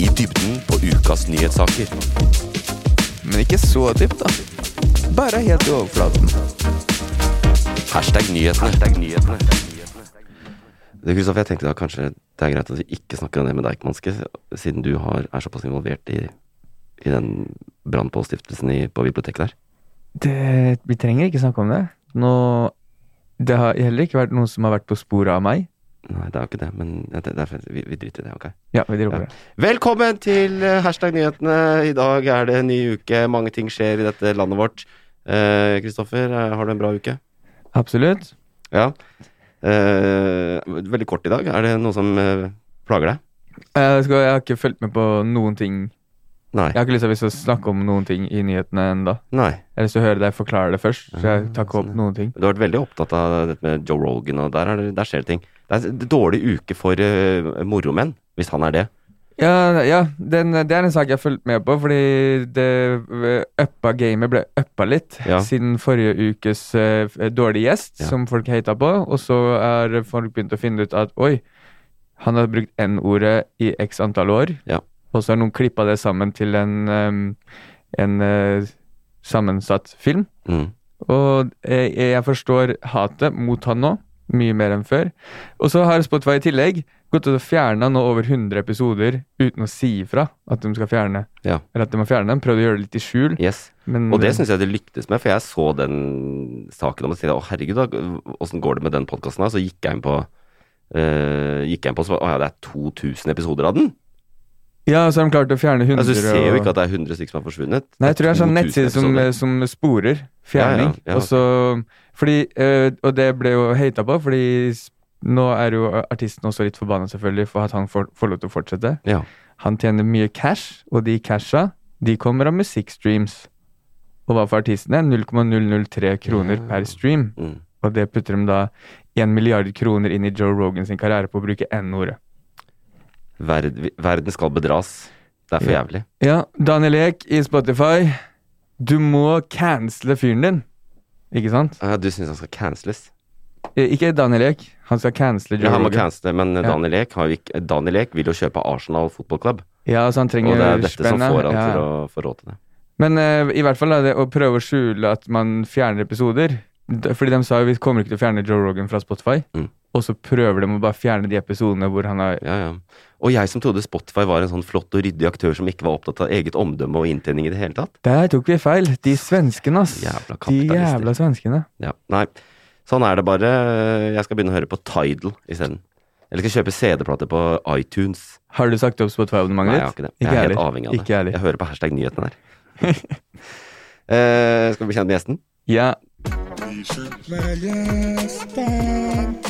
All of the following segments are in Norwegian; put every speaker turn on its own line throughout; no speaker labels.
I dybden på ukas nyhetssaker.
Men ikke så dypt, da. Bare helt i overflaten.
Hashtag nyhetene. Du, Kristoffer, sånn, jeg tenkte da kanskje det er greit at vi ikke snakker om det med Deichmanske, siden du har, er såpass involvert i, i den brannpåstiftelsen i- på biblioteket der.
Det, vi trenger ikke snakke om det. Nå, det har heller ikke vært noen som har vært på sporet av meg.
Nei, det er jo ikke det, men ja, det, det er, vi, vi driter i det, ok?
Ja, vi dropper
Ja.
det.
Velkommen til eh, hashtag nyhetene. I dag er det en ny uke. Mange ting skjer i dette landet vårt. Eh, Kristoffer, eh, har du en bra uke?
Absolutt.
Ja. Eh, veldig kort i dag. Er det noe som eh, plager deg?
Jeg, Eh, skal, jeg har ikke fulgt med på noen ting.
Nei.
Jeg har ikke lyst til å hvis jeg snakke om noen ting i nyhetene ennå.
Nei.
Jeg har lyst til å høre deg forklare det først. Så jeg
Ah,
tar ikke
sånn,
opp
ja.
noen ting.
Du har vært veldig opptatt av dette med Joe Rogan, og der, er det, der skjer det ting. Det er en dårlig uke for eh, moromenn, hvis han er det.
Ja, ja den, det er en sak jeg har fulgt med på, fordi det uppa gamet ble uppa litt
Ja.
siden forrige ukes eh, f- dårlige gjest,
Ja.
som folk hata på. Og så har folk begynt å finne ut at oi, han har brukt N-ordet i x antall år.
Ja.
Og så har noen klippa det sammen til en, em, en eh, sammensatt film.
Mm.
Og jeg, jeg forstår hatet mot han nå, mye mer enn før. Og så har Spotify i tillegg gått ut og fjerna nå over 100 episoder uten å si ifra at de skal fjerne.
Ja.
Eller at de må fjerne dem. Prøvde å gjøre det litt i skjul.
Yes.
Men,
Og det syns jeg det lyktes med, for jeg så den saken om å si Å, herregud, da, åssen går det med den podkasten her? Så gikk jeg inn på eh, gikk jeg inn på så, var- Å ja, det er 2000 episoder av den?
Ja, så har de klart å fjerne 100
Altså, du ser jo ikke
og
at det er 100 stykker som har forsvunnet.
Nei, jeg tror det er sånn
2000
nettside som,
episoder.
som sporer fjerning.
Ja, ja, ja,
Og så Fordi eh, Og det ble jo hata på, fordi s- nå er jo artisten også litt forbanna, selvfølgelig, for at han får, får lov til å fortsette.
Ja.
Han tjener mye cash, og de casha, de kommer av musikkstreams. Og hva for artistene? 0,003 kroner per stream.
Mm.
Og det putter de da 1 milliard kroner inn i Joe Rogan sin karriere på å bruke N-ordet.
Verd, verden skal bedras. Det er for
Ja.
jævlig.
Ja, Daniel Ek i Spotify, du må cancele fyren din. Ikke sant?
Ja, du syns han skal canceles?
Eh, Ikke Daniel Ek, han skal cancele Joe
Ja, han må
Rogan.
cancele, men Daniel Ek, har jo ikke, Daniel Ek vil jo kjøpe Arsenal Football Club.
Ja, så han
Og
trenger
det er dette som
spennet.
får han
Ja.
til å få råd til det.
Men eh, i hvert fall da, det å prøve å skjule at man fjerner episoder d- Fordi de sa jo vi kommer ikke til å fjerne Joe Rogan fra Spotify.
Mm.
Og så prøver de å bare fjerne de episodene hvor han har
Ja, ja. Og jeg som trodde Spotify var en sånn flott og ryddig aktør som ikke var opptatt av eget omdømme og inntjening i det hele tatt.
Der tok vi feil! De svenskene, ass.
Jævla
de
kapitalister.
jævla svenskene.
Ja, nei. Sånn er det bare. Jeg skal begynne å høre på Tidal isteden. Eller skal kjøpe CD-plater på iTunes.
Har du sagt opp
Nei,
Spotify-abonnementet
jeg har
ditt?
ikke det. Jeg er helt
heller.
avhengig av det.
Ikke jeg heller.
Jeg hører på hashtag nyhetene der. Eh, skal vi bli kjent med gjesten?
Ja.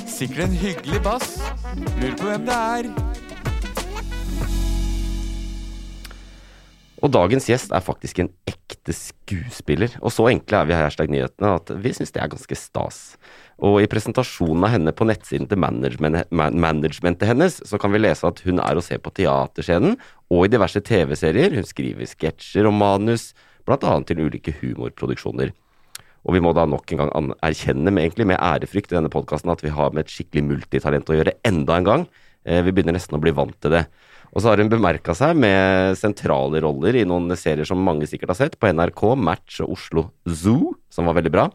Sikkert en hyggelig bass. Lurer på hvem det er.
Og dagens gjest er faktisk en ekte skuespiller. Og så enkle er vi her i Hashtag Nyhetene at vi syns det er ganske stas. Og i presentasjonen av henne på nettsiden til management, man, managementet hennes, så kan vi lese at hun er å se på teaterscenen og i diverse TV-serier. Hun skriver sketsjer og manus, bl.a. til ulike humorproduksjoner. Og vi må da nok en gang an- erkjenne med, egentlig, med ærefrykt i denne podkasten at vi har med et skikkelig multitalent å gjøre enda en gang. Eh, vi begynner nesten å bli vant til det. Og så har hun bemerka seg med sentrale roller i noen serier som mange sikkert har sett, på NRK, Match og Oslo Zoo, som var veldig bra.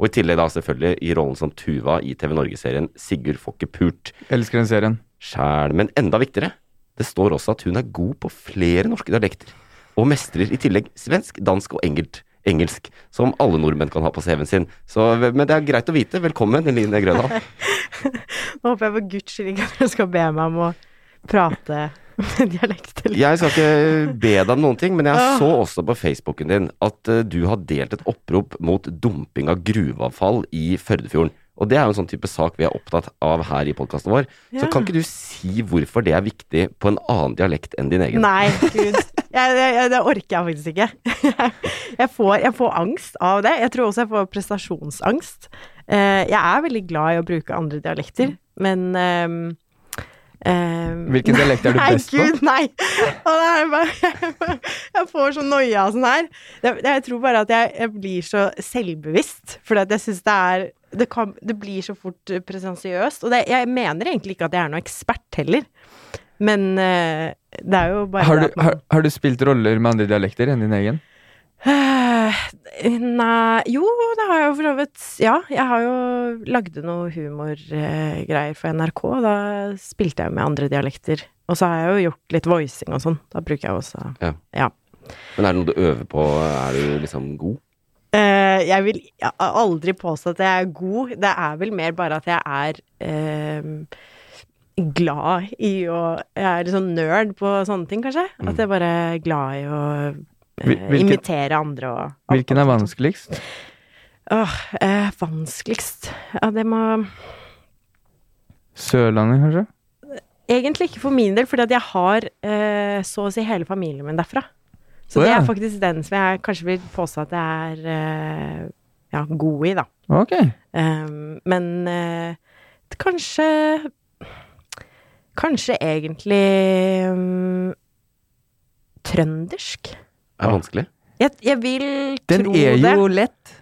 Og i tillegg da selvfølgelig i rollen som Tuva i TV Norge-serien Sigurd får ikke pult
Elsker den serien.
sjæl. Men enda viktigere, det står også at hun er god på flere norske dialekter. Og mestrer i tillegg svensk, dansk og engelt, engelsk, som alle nordmenn kan ha på CV-en sin. Så, men det er greit å vite. Velkommen, Eline Grøndahl.
Nå håper jeg for guds skyld ikke at dere skal be meg om å prate med dialekt. Eller.
Jeg skal ikke be deg om noen ting, men jeg så også på Facebooken din at eh, du har delt et opprop mot dumping av gruveavfall i Førdefjorden. Og det er jo en sånn type sak vi er opptatt av her i podkasten vår. Så
Ja.
kan ikke du si hvorfor det er viktig på en annen dialekt enn din egen?
Nei, gud. Jeg, jeg, jeg, det orker jeg faktisk ikke. Jeg får, jeg får angst av det. Jeg tror også jeg får prestasjonsangst. Eh, Jeg er veldig glad i å bruke andre dialekter, men ehm, ehm,
Hvilken dialekt er du best på?
Nei, gud, nei! Å, det er bare, jeg får så noia av sånn her. Jeg, jeg tror bare at jeg, jeg blir så selvbevisst, fordi at jeg syns det er det, kan, det blir så fort eh, presensiøst. Og det, jeg mener egentlig ikke at jeg er noen ekspert heller, men eh, det er jo bare
Har
det
du,
at man-
har, har du spilt roller med andre dialekter enn din egen?
Eh, Nei Jo, det har jeg jo for så vidt. Ja, jeg har jo lagde noe humorgreier for NRK. Da spilte jeg med andre dialekter. Og så har jeg jo gjort litt voicing og sånn. Da bruker jeg også
Ja.
ja.
Men er det noe du øver på? Er du liksom god?
Eh, jeg vil jeg har aldri påstå at jeg er god. Det er vel mer bare at jeg er ehm, glad i å Jeg er litt sånn nerd på sånne ting, kanskje.
Mm.
At jeg bare er glad i å eh,
Hvil- hvilken-
imitere andre og
Hvilken er vanskeligst?
Åh, eh, vanskeligst Ja, det må
Sørlandet, kanskje?
Egentlig ikke for min del, fordi at jeg har eh, så å si hele familien min derfra. Så
Å,
det
ja.
er faktisk den som jeg kanskje vil påstå at jeg er eh, ja, god i, da.
Ok.
Um, men eh, kanskje Kanskje egentlig um, trøndersk.
Er det vanskelig?
Jeg, jeg vil
Den
tro
er
det.
jo lett.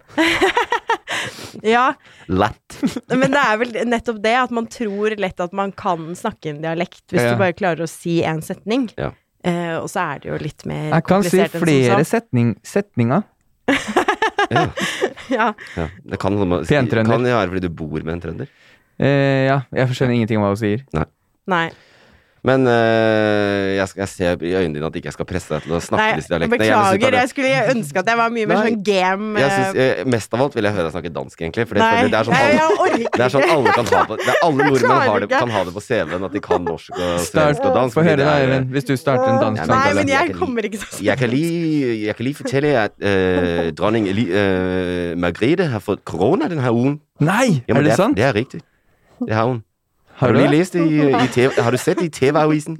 Ja,
Lett.
Men det er vel nettopp det, at man tror lett at man kan snakke en dialekt hvis
Ja.
du bare klarer å si én setning.
Ja.
Eh, og så er det jo litt mer
Jeg kan si
komplisert enn som
flere
så.
setning, setninger.
Ja.
Ja.
ja. Det kan,
Pentrønder.
kan det være fordi du bor med en trønder.
Eh, ja, jeg skjønner ingenting om hva hun sier.
Nei.
Men øh, jeg, skal, jeg ser i øynene dine at ikke jeg skal presse deg til å snakke
Nei
disse dialektene. Jeg synes det er
beklager,
det-
jeg skulle ønske at jeg var mye mer
Nei.
sånn game.
Jeg synes, eh, mest av alt vil jeg høre deg snakke dansk, egentlig. For det,
Nei,
føler jeg- det er sånn
jeg,
alle,
jeg orker
det er sånn alle kan ha på det er Alle
Jeg
nordmenn
klarer
har det,
ikke.
kan ha det på CV-en, at de kan norsk og
Start
svensk og dansk.
Få
fordi
høre
det
da,
er-
Eivind, hvis du starter en dansk
Nei,
Nei,
samtale.
men
Jeg
jeg
kan-
kommer ikke sånn.
Jeg kan lige, jeg kan lige fortælle jer, at øh, dronning Eli, øh, Margrethe har fått korona den her ugen.
Nei,
Jamen,
er
er,
det sant?
Det er rigtigt. Det har hun. Har
Har
du
du,
lige
det?
læst det i, i TV? Har du sett det i TV-avisen?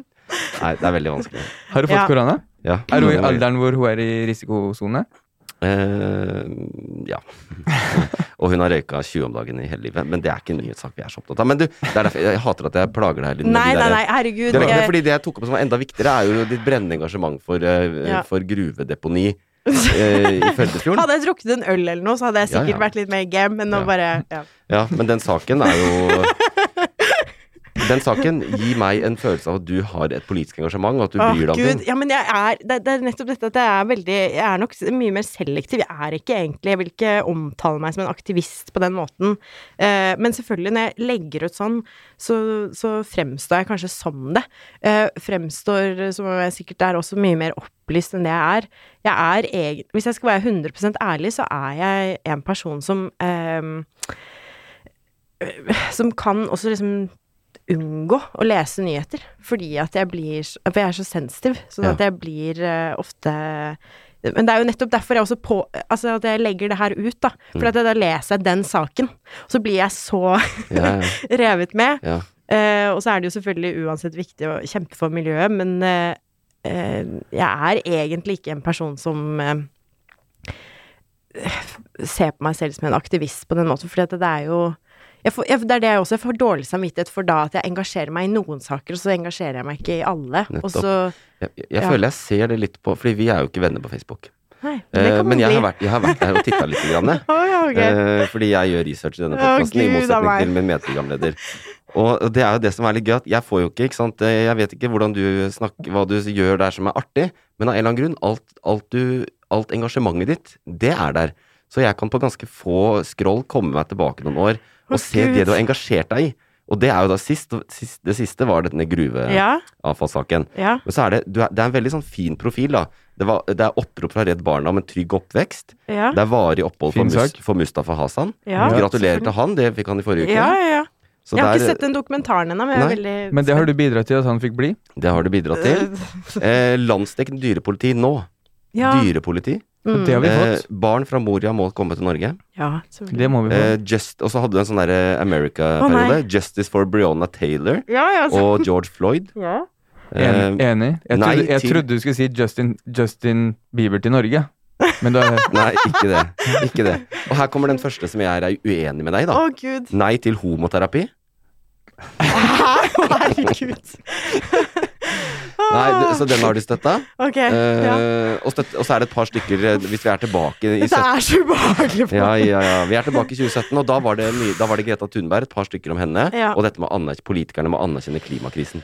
Nei, det er veldig vanskelig.
har du fått
Ja.
korona?
Ja.
Er hun i alderen hvor hun er i risikosone?
Eh, ja. og hun har røyka 20 om dagen i hele livet. Men det er ikke en nyhetssak vi er så opptatt av. Men du, det er derfor jeg hater at jeg plager deg. Linn, med
Nei,
de
nei,
der-
nei, herregud.
Det er ikke det,
jeg-
fordi det jeg tok opp som var enda viktigere, er jo ditt brennende engasjement for, eh,
Ja.
for gruvedeponi eh, i Førdefjorden.
Hadde jeg drukket en øl eller noe, så hadde jeg
Ja,
sikkert
ja.
vært litt mer game, men nå
Ja.
bare ja.
Ja, men den saken er jo Den saken gir meg en følelse av at du har et politisk engasjement, og at du
Åh,
bryr deg om
Gud.
ting.
Ja, men jeg er, det, det er nettopp dette at jeg er veldig Jeg er nok s- mye mer selektiv. Jeg er ikke egentlig Jeg vil ikke omtale meg som en aktivist på den måten. Eh, men selvfølgelig, når jeg legger ut sånn, så, så fremstår jeg kanskje som det. Eh, fremstår eh, som om jeg sikkert er også mye mer opplyst enn det jeg er. Jeg er egen, hvis jeg skal være 100 ærlig, så er jeg en person som eh, som kan også liksom unngå å lese nyheter, fordi at jeg blir s- For jeg er så sensitiv, sånn
Ja.
at jeg blir eh, ofte men det er jo nettopp derfor jeg også på, altså at jeg legger det her ut, da.
Mm.
For at jeg da leser jeg den saken, og så blir jeg så
Ja, ja,
revet med.
ja.
Eh, og så er det jo selvfølgelig uansett viktig å kjempe for miljøet, men eh, eh, jeg er egentlig ikke en person som eh, ser på meg selv som en aktivist på den måten, fordi at det er jo jeg får, jeg, det er det jeg også jeg får dårlig samvittighet for da, at jeg engasjerer meg i noen saker, og så engasjerer jeg meg ikke i alle. Og
Nettopp.
så
Jeg, jeg
Ja.
føler jeg ser det litt på Fordi vi er jo ikke venner på Facebook.
Nei, det
Eh,
kan
men
man
jeg
bli.
har, vært, jeg har vært der og titta litt. Grann, jeg.
Å, ja, ok.
Eh, fordi jeg gjør research i denne
Å,
podkasten, i
Gud,
motsetning
av meg.
til min medprogramleder. Og det er jo det som er litt gøy, at jeg får jo ikke, ikke sant eh, Jeg vet ikke hvordan du snakker, hva du gjør der som er artig, men av en eller annen grunn, alt, alt, du, alt engasjementet ditt, det er der. Så jeg kan på ganske få scroll komme meg tilbake noen år
Å,
og se
Gud.
det du har engasjert deg i. Og det er jo da sist, sist Det siste var denne gruveavfallssaken.
Ja, ja.
Men så er det, du er, det er en veldig sånn fin profil, da. Det, var, det er opprop fra Redd Barna om en trygg oppvekst.
Ja,
Det er varig opphold for,
Fin
Mus,
sak.
for Mustafa Hasan.
Ja.
Gratulerer til han, det fikk han i
ja,
forrige uke.
ja. ja.
Så
jeg har ikke
der-
sett den dokumentaren ennå, men jeg er veldig
Men det har du bidratt til at han fikk bli?
det har du bidratt til. Eh, Landsdekkende dyrepoliti nå.
ja. mm.
Dyrepoliti.
Og det har vi
Eh,
fått.
barn fra Moria må komme til Norge.
ja, selvfølgelig.
Det må vi få.
Eh, just, og så hadde du en sånn derre
Å,
America-periode.
nei.
Justice for Breonna Taylor
Ja, ja, så,
og George Floyd.
ja.
Eh,
Enig. enig. Jeg,
nei
trodde, jeg
til-
trodde du skulle si Justin, Justin Bieber til Norge. Men da
nei, ikke det. Ikke det. Og her kommer den første som jeg er uenig med deg i,
Å,
da.
gud.
Nei til homoterapi.
Å, Herregud.
Nei, d- så den har du støtta.
Ah. Ok.
Eh,
ja.
og, støtt, og så er det et par stykker, eh, hvis vi er tilbake i
Dette
17
er så ubehagelig. for
ja,
meg.
ja, ja. Vi er tilbake i 2017, og da var det, mye, da var det Greta Thunberg, et par stykker om henne,
Ja.
og dette med å anerkjenne- politikerne må anerkjenne klimakrisen.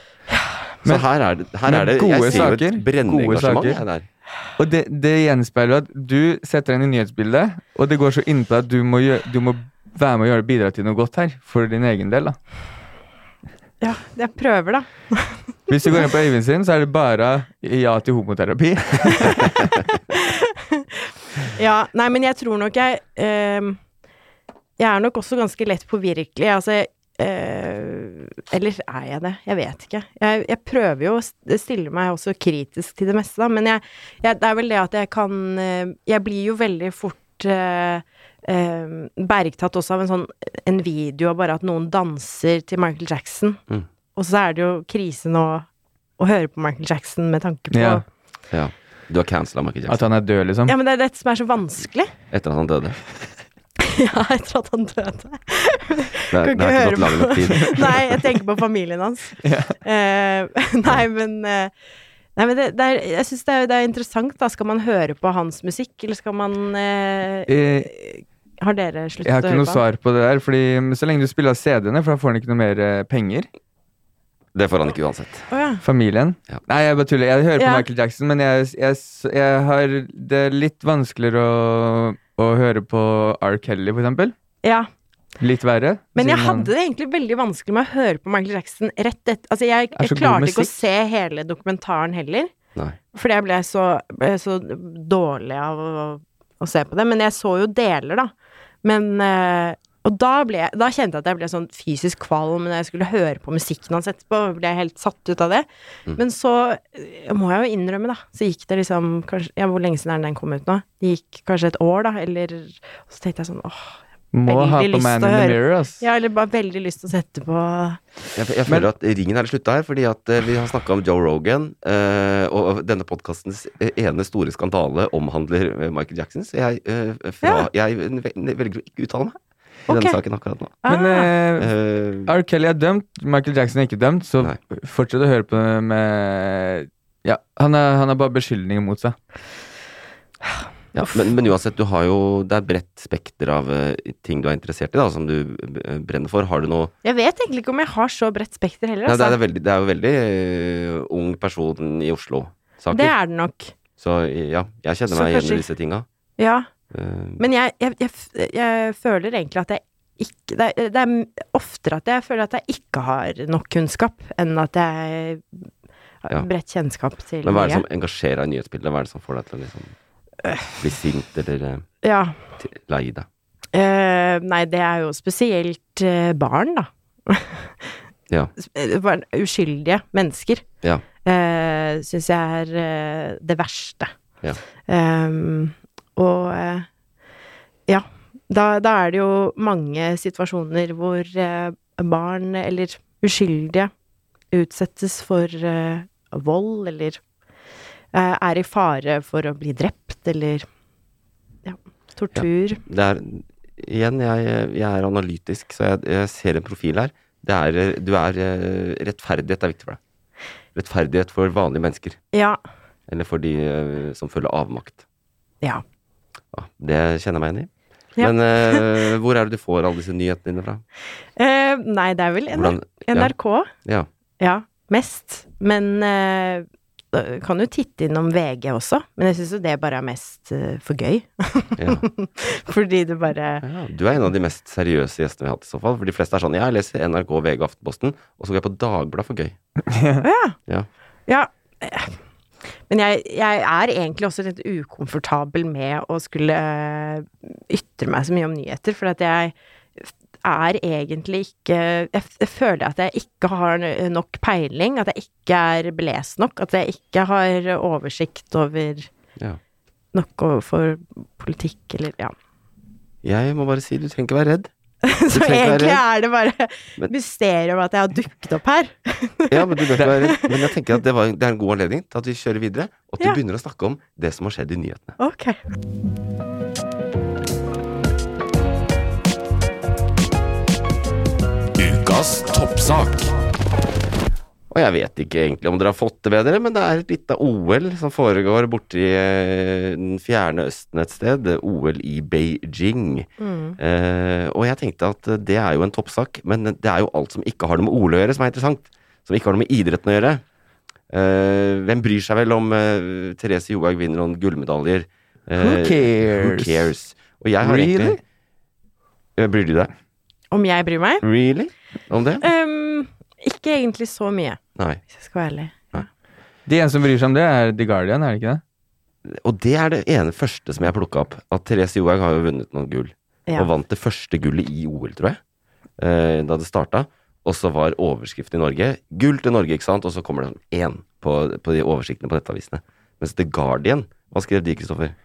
Så
Men-
her er det, her
men
er det
gode
Jeg ser jo et
saker,
brennende
gode
engasjement.
saker.
jeg, der.
Og det, det gjenspeiler at du setter deg inn i nyhetsbildet, og det går så innpå at du må, gjø du må være med og gjøre bidra til noe godt her, for din egen del. da.
Ja, jeg prøver, da.
Hvis du går inn på Øyvind sin, så er det bare ja til homoterapi.
Ja, nei, men jeg tror nok jeg ehm, Jeg er nok også ganske lett påvirkelig. Altså eh, Eller er jeg det? Jeg vet ikke. Jeg, jeg prøver jo å st- stille meg også kritisk til det meste, da, men jeg, jeg, det er vel det at jeg kan eh, Jeg blir jo veldig fort eh, eh, bergtatt også av en sånn en video av bare at noen danser til Michael Jackson,
Mm.
og så er det jo krise nå å høre på Michael Jackson med tanke på
Ja.
Ja. Du har cancela Michael
At
Jackson
han er død, liksom.
ja, men det er dette som er så vanskelig.
etter at han døde.
Ja, etter at han døde.
Det, er- det
Kan
har
ikke
ikke gått lang
høre
nok tid.
Nei, jeg tenker på familien hans. Eh, nei, men, eh, nei, men det, det er, jeg syns det, er- det er interessant, da. Skal man høre på hans musikk, eller skal man eh,
Eh,
Har dere sluttet
Jeg har ikke
å høre
noe
på? han?
svar på det der, fordi mm, så lenge du spiller av CD-ene, for da får han ikke noe mer eh, penger.
Det får han ikke uansett.
Å ja.
Familien.
Ja.
Nei, jeg bare tuller. Jeg hører på
Ja.
Michael Jackson, men jeg, jeg, jeg har Det er litt vanskeligere å, å høre på R. Kelly, for eksempel.
ja.
Litt verre.
Men jeg
siden han-
hadde det egentlig veldig vanskelig med å høre på Michael Jackson rett etter Altså,
er
jeg,
så
jeg
god
klarte ikke
musikk.
å se hele dokumentaren heller,
Nei.
fordi jeg ble så, ble så dårlig av å, å se på det. Men jeg så jo deler, da. Men eh, Og da, ble, jeg- da kjente jeg at jeg ble sånn fysisk kvalm når jeg skulle høre på musikken hans etterpå. Ble jeg helt satt ut av det.
Mm.
Men så eh, må jeg jo innrømme, da. Så gikk det liksom kanskje, Ja, hvor lenge siden er det den kom ut nå? Det gikk kanskje et år, da. Eller og Så tenkte jeg sånn åh.
Må
veldig
ha på
lyst
Man
til
in
å
the
høre.
Mirror, ass.
Ja, eller bare veldig lyst til å sette på
Jeg, jeg føler at ringen er slutta her, fordi at eh, vi har snakka om Joe Rogan, eh, og denne podkastens ene store skandale omhandler eh, Michael Jackson, så jeg, eh, fra, jeg ve- velger å ikke uttale meg i
Ok.
denne saken akkurat nå.
Men
Ah,
eh,
Eh,
R. Kelly er dømt, Michael Jackson er ikke dømt, så
Nei.
fortsett å høre på det med Ja, han har, han har bare beskyldninger mot seg.
ja, men, men uansett, du har jo Det er bredt spekter av eh, ting du er interessert i, da, som du eh, brenner for. Har du noe
Jeg vet egentlig ikke om jeg har så bredt spekter heller,
Nei, det, er, det,
altså.
er veldig, det er jo veldig eh, ung person i
det
Oslo-saker.
er det nok.
Så ja, jeg
Så
kjenner meg igjen
kanskje-
i disse tinga.
Ja.
Eh,
Men jeg, jeg, jeg, f- jeg føler egentlig at jeg ikke det er, det er oftere at jeg føler at jeg ikke har nok kunnskap, enn at jeg har
Ja.
bredt kjennskap til
Men hva er det
mye.
som engasjerer deg i nyhetsbildet? Hva er det som får deg til å liksom bli sint eller eh,
Ja.
til- lei deg?
Eh, nei, det er jo spesielt eh, barn, da.
Ja.
Sp- eh, barn- Uskyldige mennesker.
Ja.
Uh, Syns jeg er eh, det verste.
Ja.
Ehm, og eh, ja, da, da er det jo mange situasjoner hvor eh, barn eller uskyldige utsettes for eh, vold eller eh, er i fare for å bli drept eller ja, tortur.
Det er Igjen, jeg, jeg er analytisk, så jeg, jeg ser en profil her. Det er, eh, du er eh, Rettferdighet er viktig for deg. Rettferdighet for vanlige mennesker.
Ja.
Eller for de eh, som føler avmakt.
Ja.
Ja, det kjenner jeg meg igjen i.
Ja.
Men eh, hvor er det du får alle disse nyhetene dine fra?
Eh, nei, det er vel NR
Hvordan- ja.
NRK.
Ja.
Ja, mest. Men eh, eh, kan jo titte innom VG også, men jeg syns jo det bare er mest eh, for gøy.
Ja.
Fordi det bare
Ja, du er en av de mest seriøse gjestene vi har hatt i så fall. For de fleste er sånn, jeg leser NRK, VG, Aftenposten, og så går jeg på Dagbladet for gøy. ja.
Ja. eh, Men jeg, jeg er egentlig også litt ukomfortabel med å skulle eh, ytre meg så mye om nyheter, for at jeg er egentlig ikke Jeg f- jeg føler at jeg ikke har n- nok peiling, at jeg ikke er belest nok, at jeg ikke har oversikt over
Ja.
nok overfor politikk eller ja.
Jeg må bare si, du trenger ikke være redd.
Så
trenger ikke være
egentlig
redd.
er det bare
Men-
mysterium at jeg har dukket opp her.
Ja, Men du bør ikke være redd. Men jeg tenker at det, var, det er en god anledning til at vi kjører videre, og at du
Ja.
begynner å snakke om det som har skjedd i nyhetene.
Ok.
Ukas toppsak.
Og jeg vet ikke egentlig om dere har fått det med dere, men det er et lite OL som foregår borti eh, den fjerne østen et sted. OL i Beijing.
Mm.
Eh, og jeg tenkte at det er jo en toppsak, men det er jo alt som ikke har noe med OL å gjøre, som er interessant. Som ikke har noe med idretten å gjøre. Eh, hvem bryr seg vel om eh, Therese Johaug vinner noen gullmedaljer? Eh,
Who cares?
Who cares? Og jeg har
Really?
egentlig Eh, Bryr du deg?
Om jeg bryr meg?
Really? Om det?
Eh.
Ehm, ikke egentlig så mye,
Nei.
hvis jeg skal være ærlig.
De eneste som bryr seg om det, er The Guardian, er det ikke det?
Og det er det ene første som jeg plukka opp. At Therese Johaug har jo vunnet noen gull.
Ja.
Og vant det første gullet i OL, tror jeg. eh, Da det starta. Og så var overskriften i Norge 'Gull til Norge', ikke sant? Og så kommer det sånn én på, på de oversiktene på nettavisene. Mens The Guardian Hva skrev de, Kristoffer?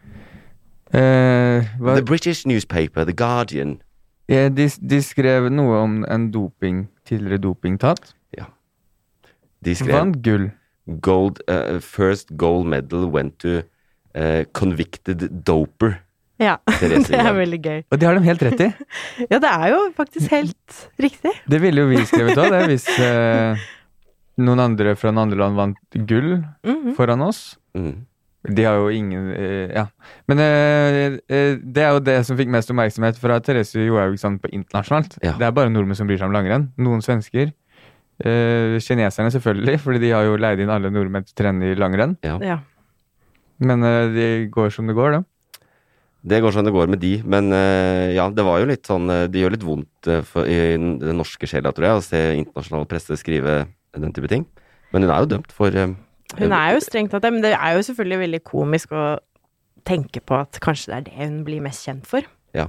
Eh, hva,
The British newspaper, The Guardian.
ja, de, de skrev noe om en doping, tidligere dopingtatt.
De skrev
Vant gull.
gold, eh, 'First gold medal went to eh, convicted doper'.
Ja,
Therese
det er
Johaug.
veldig gøy.
Og det har de helt rett i.
Ja, det er jo faktisk helt riktig.
Det ville jo vi skrevet òg, det, hvis eh, noen andre fra noen andre land vant gull
Mhm.
foran oss.
Mm.
De har jo ingen eh, Ja. Men eh, eh, det er jo det som fikk mest oppmerksomhet fra Therese Johaug sånn på internasjonalt.
Ja.
Det er bare nordmenn som bryr seg om langrenn. Noen svensker. Eh, kineserne selvfølgelig, fordi de har jo leid inn alle nordmenn til å trene i langrenn.
Ja.
Ja.
Men eh, det går som det går, da.
Det går som det går med de, men eh, ja, det var jo litt sånn eh, Det gjør litt vondt eh, for, i den den norske sjela, tror jeg, å se internasjonal presse skrive den type ting. Men hun er jo dømt for eh,
Hun er jo strengt tatt det, men det er jo selvfølgelig veldig komisk å tenke på at kanskje det er det hun blir mest kjent for.
Ja.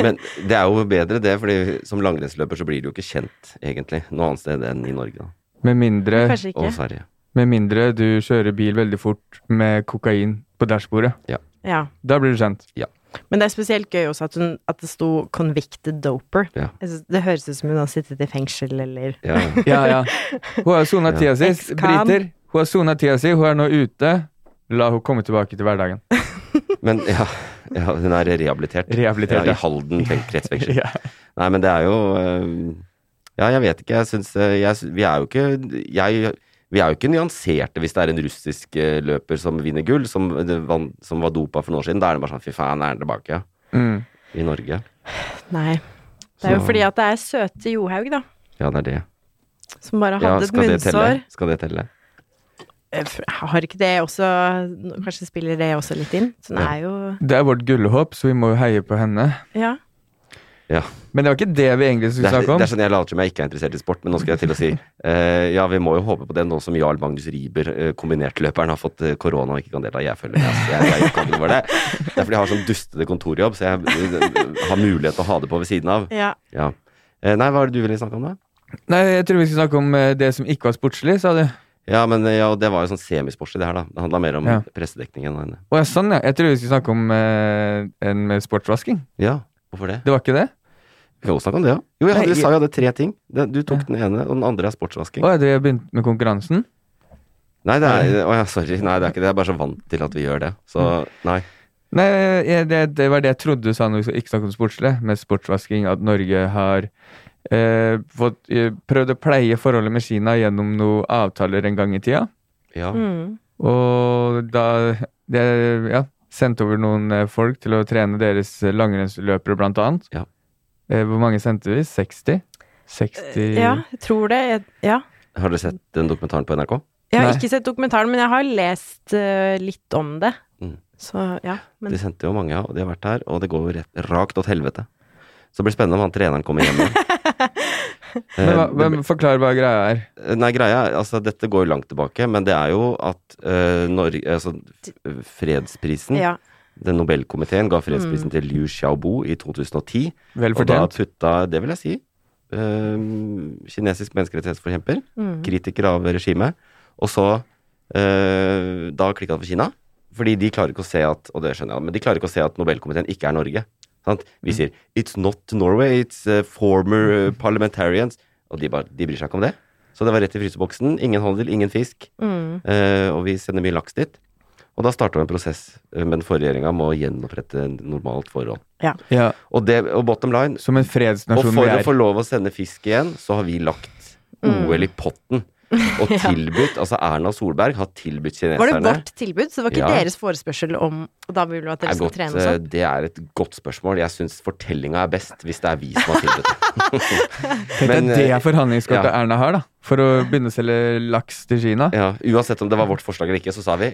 Men det er jo bedre det, fordi som langrennsløper så blir du jo ikke kjent, egentlig, noe annet sted enn i Norge da,
Med mindre,
Kanskje
og
ikke.
Sverige.
med mindre du kjører bil veldig fort med kokain på dashbordet.
Ja.
Da blir du kjent.
Men det er spesielt gøy også at, hun, at det sto 'convicted doper'.
Ja.
Jeg synes- Det høres ut som hun har sittet i fengsel eller
Ja, ja.
Ja, ja. Hun har sona
Ja.
tida si.
Ex-con.
Briter. Hun har sona tida si, hun er nå ute. La hun komme tilbake til hverdagen.
Men ja, ja, hun er rehabilitert.
Rehabilitert,
ja.
ja.
I Halden feng- kretsfengsel.
Ja.
Nei, men det er jo eh, Ja, jeg vet ikke. Jeg syns eh, jeg, sy- Vi er jo ikke jeg, Vi er jo ikke nyanserte hvis det er en russisk eh, løper som vinner gull, som, eh, det vann- som var dopa for noen år siden. Da er det bare sånn fy faen, er han tilbake
Mm.
i Norge?
Nei. Det er jo
Så-
fordi at det er søte Johaug, da.
Ja, det er det.
Som bare
Ja,
hadde et
skal det telle?
munnsår.
Skal det telle?
Eh, f- Har ikke det også Kanskje spiller det også litt inn? Så hun
Ja.
er jo
Det er vårt gullhåp, så vi må jo heie på henne.
Ja.
Ja.
Men det var ikke det vi
Det
egentlig skulle
er,
snakke om.
det er sånn jeg later som jeg ikke er interessert i sport, men nå skal jeg til å si eh, Ja, vi må jo håpe på det nå som Jarl Magnus Riiber, eh, kombinertløperen, har fått eh, korona og ikke kan delta. Jeg følger med. ass. Jeg, jeg, kan ikke for det. det er fordi jeg har sånn dustete kontorjobb, så jeg eh, har mulighet til å ha det på ved siden av.
ja.
Ja. Eh, nei, hva er det du ville snakke om, da?
Nei, jeg tror vi skulle snakke om eh, det som ikke var sportslig, sa du.
Ja, men eh, ja, det var jo sånn semisportslig, det her, da. Det handla mer om
Ja.
pressedekningen og henne.
Å ja, sånn, ja. Jeg tror vi skulle snakke om eh, en med sportsvasking.
Ja, hvorfor det?
Det var ikke det?
Vi kan jo snakke om det, ja. Jo, jeg
Nei,
hadde,
jeg-
sa jo jeg hadde tre ting. Det- Du tok den ene, og den andre er sportsvasking.
Å ja, dere begynte med konkurransen?
Nei, det er Å ja, sorry. Nei, det er ikke det. Jeg er bare så vant til at vi gjør det. Så nei.
Nei, jeg- det, det var det jeg trodde du sa når vi skulle ikke snakke om sportslig, med sportsvasking, at Norge har eh, fått, eh, prøvd å pleie forholdet med Kina gjennom noen avtaler en gang i tida.
Ja.
Mm.
Og da det, ja, sendte over noen eh, folk til å trene deres eh, langrennsløpere, blant annet.
Ja.
Eh, hvor mange sendte vi? 60? 60
Eh, Ja, jeg tror det. Jeg- Ja.
Har dere sett den dokumentaren på NRK?
Jeg har
Nei.
ikke sett dokumentaren, men jeg har lest eh, litt om det.
Mm.
Så ja. Men
De sendte jo mange, og de har vært her, og det går jo rett, rakt åt helvete. Så det blir spennende om han treneren kommer hjem igjen. Eh,
Men hva,
det
hvem, forklar hva greia er.
Nei, greia er, altså dette går jo langt tilbake, men det er jo at eh, Norge, altså f- fredsprisen,
ja. Mm.
den Nobelkomiteen ga fredsprisen til Liu Xiaobo i 2010.
Vel
Og da
fortjent.
putta, det vil jeg si, eh, kinesisk menneskerettighetsforkjemper, kritiker av regimet, og så eh, da klikka det for Kina. Fordi de klarer ikke å se at og det skjønner jeg, men de klarer ikke å se at Nobelkomiteen ikke er Norge. Sant? Vi sier 'It's not Norway, it's eh, former eh, parliamentarians'. Og de, bare, de bryr seg ikke om det. Så det var rett i fryseboksen. Ingen handel, ingen fisk. Eh, og vi sender mye laks dit. Og da starta en prosess eh, med den forrige regjeringa med å gjenopprette en normalt forhold.
Ja,
Og, det, og bottom line
som en
og
fredsnasjon vi
for å
er.
få lov å sende fisk igjen, så har vi lagt OL i
Mm.
potten. Og tilbudt, altså Erna Solberg har tilbudt kineserne
Var det vårt tilbud? Så det var ikke
Ja.
deres forespørsel om Og da vil vi at
er
dere skal
godt,
trene og sånn?
eh, det er et godt spørsmål. Jeg syns fortellinga er best hvis det er vi som har tilbudt det.
Tenk deg
Men,
det
eh,
forhandlingskortet
ja.
Erna har, da. For å begynne å selge laks til Kina.
Ja, uansett om det var vårt forslag eller ikke, så sa vi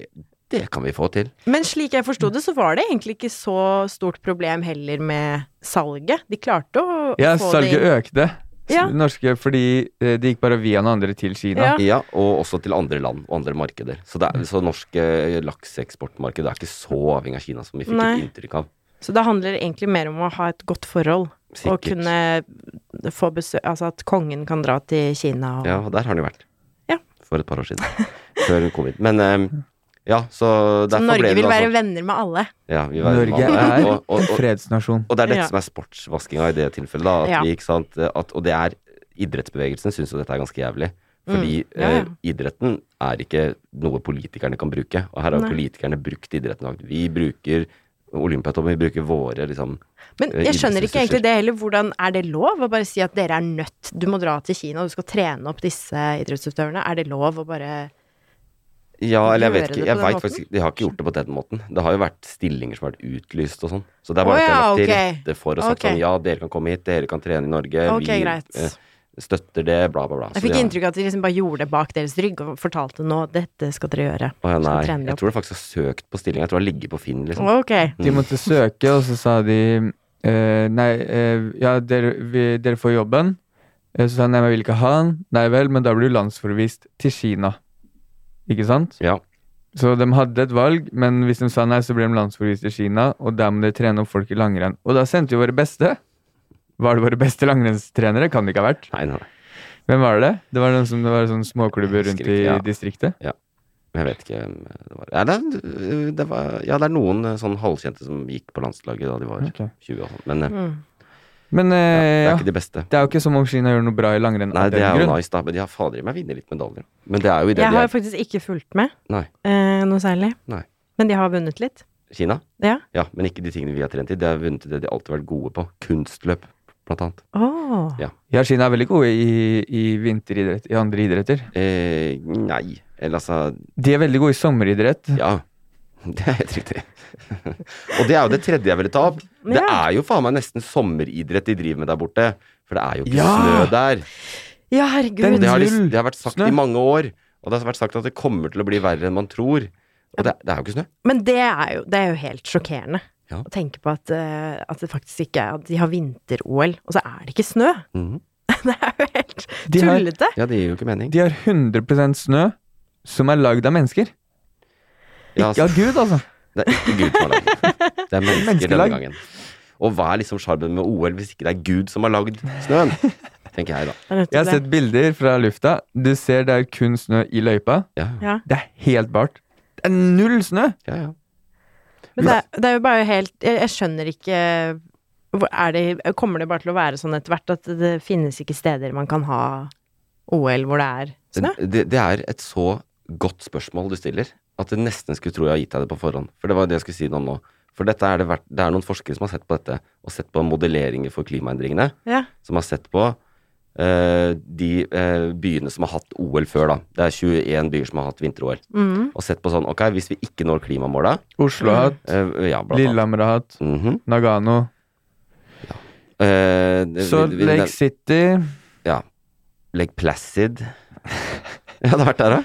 det kan vi få til.
Men slik jeg forsto det, så var det egentlig ikke så stort problem heller med salget. De klarte å å
Ja,
få
salget
det inn.
økte.
Ja.
Norske, fordi eh, det gikk bare via noen andre til Kina.
Ja.
Ja, og også til andre land og andre markeder. Så, det er, så norske lakseeksportmarkedet er ikke så avhengig av Kina som vi fikk
Nei.
et inntrykk av.
Så det handler egentlig mer om å ha et godt forhold. Og
Sikkert.
kunne få besøk Altså at kongen kan dra til Kina og
Ja, og der har han jo vært.
Ja.
For et par år siden. Før hun kom hit. Men eh, ja, så
Så
derfor
Norge
ble det
vil
altså-
være venner med alle.
Ja, vi var
Norge
ja,
er
og, og,
en
og,
fredsnasjon.
og det er dette
Ja.
som er sportsvaskinga i det tilfellet. da, at
Ja.
vi, ikke sant, at, Og det er idrettsbevegelsen syns jo dette er ganske jævlig. Fordi
Mm, ja, ja.
eh, idretten er ikke noe politikerne kan bruke. Og her har jo
Nei.
politikerne brukt idretten. og Vi bruker Olympiatommen, vi bruker våre liksom
Men
Eh,
jeg skjønner
idrettsressurser.
ikke egentlig det heller. Hvordan Er det lov å bare si at dere er nødt, du må dra til Kina, du skal trene opp disse idrettsutøverne? Er det lov å bare
Ja, eller jeg
Gjøre
vet
det
ikke.
på
Jeg
den
vet
måten?
faktisk, ikke. de har ikke gjort det på den måten. Det har jo vært stillinger som har vært utlyst og sånn. Så det er
Å
bare at de har
ja,
lagt til
ok.
rette for og sagt
Ok.
sånn ja, dere kan komme hit, dere kan trene i Norge,
Ok,
Eh, vi
greit.
støtter det, bla, bla, bla.
Jeg
Så de
fikk
har-
inntrykk av at de liksom bare gjorde det bak deres rygg og fortalte nå dette skal dere gjøre.
Å ja,
Så
nei.
trener de
Jeg
opp.
tror det faktisk har søkt på stilling. Jeg tror det har ligget på Finn, liksom.
Ok.
De måtte søke, og så sa de eh, Nei, eh, ja, dere, vi, dere får jobben. Eh, Så sa han nei, men jeg vil ikke ha den. Nei vel, men da blir du landsforvist til Kina. Ikke sant?
Ja.
Så de hadde et valg, men hvis de sa nei, så ble de landsforvist til Kina, og der må de trene opp folk i langrenn. Og da sendte jo våre beste. Var det våre beste langrennstrenere? Kan det ikke ha vært.
Nei, nei, nei.
Hvem var det? Det var noen som det var sånne småklubber
Jeg
rundt
husker
i
ikke, ja.
distriktet.
Men Jeg vet ikke om det var Ja, det, er- det var Ja, det er noen eh, sånn halvkjente som gikk på landslaget da de var
Ok.
20 og sånn, men eh,
Mm.
Men eh,
ja, det
ja,
er ikke de beste.
det er jo ikke som om Kina gjør noe bra i langrenn
Nei,
av
det
den
er jo
grunn.
nice, da, men de har fader i meg vunnet litt medaljer. Men det er jo i det
Jeg
de
har
er
faktisk ikke fulgt med
Nei.
eh, noe særlig.
Nei.
Men de har vunnet litt.
Kina?
Ja.
Ja, men ikke de tingene vi har trent i. De har vunnet i det de alltid har vært gode på. Kunstløp, blant annet.
Åh.
Ja.
Ja, Kina er veldig gode i, i vinteridrett, i andre idretter.
Eh, nei. Eller altså
De er veldig gode i sommeridrett.
Ja, det er helt riktig. og det er jo det tredje jeg ville ta opp. Det
Ja.
er jo faen meg nesten sommeridrett de driver med der borte. For det er jo ikke
Ja!
snø der.
Ja, herregud.
Den-
Og det har, de,
Null
det har vært sagt
snø.
i mange år. Og det har vært sagt at det kommer til å bli verre enn man tror. Og det, det er jo ikke snø.
Men det er jo, det er jo helt sjokkerende.
Ja.
Å tenke på at, eh, at det faktisk ikke er At de har vinter-OL, og så er det ikke snø!
Mhm.
Det er jo helt
De har-
tullete!
Ja, det gir jo ikke mening.
De har 100 snø som er lagd av mennesker.
Ja,
Ikke av Gud, altså.
Det er ikke Gud som har lagd den. Det er mennesker denne
Menneskelag.
gangen. Og hva er liksom sjarmen med OL hvis ikke det er Gud som har lagd snøen? Tenker jeg, da.
Det er nødt til
Jeg har
det.
sett bilder fra lufta. Du ser det er kun snø i løypa.
Ja, ja,
Ja.
Det er helt bart. Det er null snø!
ja. ja.
Men det, er- det er jo bare helt Jeg, jeg skjønner ikke hvor er det, Kommer det bare til å være sånn etter hvert at det finnes ikke steder man kan ha OL hvor det er snø?
Det, det er et så godt spørsmål du stiller, at jeg nesten skulle tro jeg har gitt deg det på forhånd. For det var det jeg skulle si noe om nå. For dette er det, verdt, det er noen forskere som har sett på dette, og sett på modelleringer for klimaendringene.
Ja.
Som har sett på eh, de eh, byene som har hatt OL før, da. Det er 21 byer som har hatt vinter-OL.
Mhm.
Og sett på sånn, ok, hvis vi ikke når klimamåla
Oslo har hatt,
eh, Ja, blant annet.
Lillehammer har hatt,
Mhm.
Nagano
Eh, det-
Salt
vi- vi-
Lake City
Lake Placid. Jeg hadde vært der, da.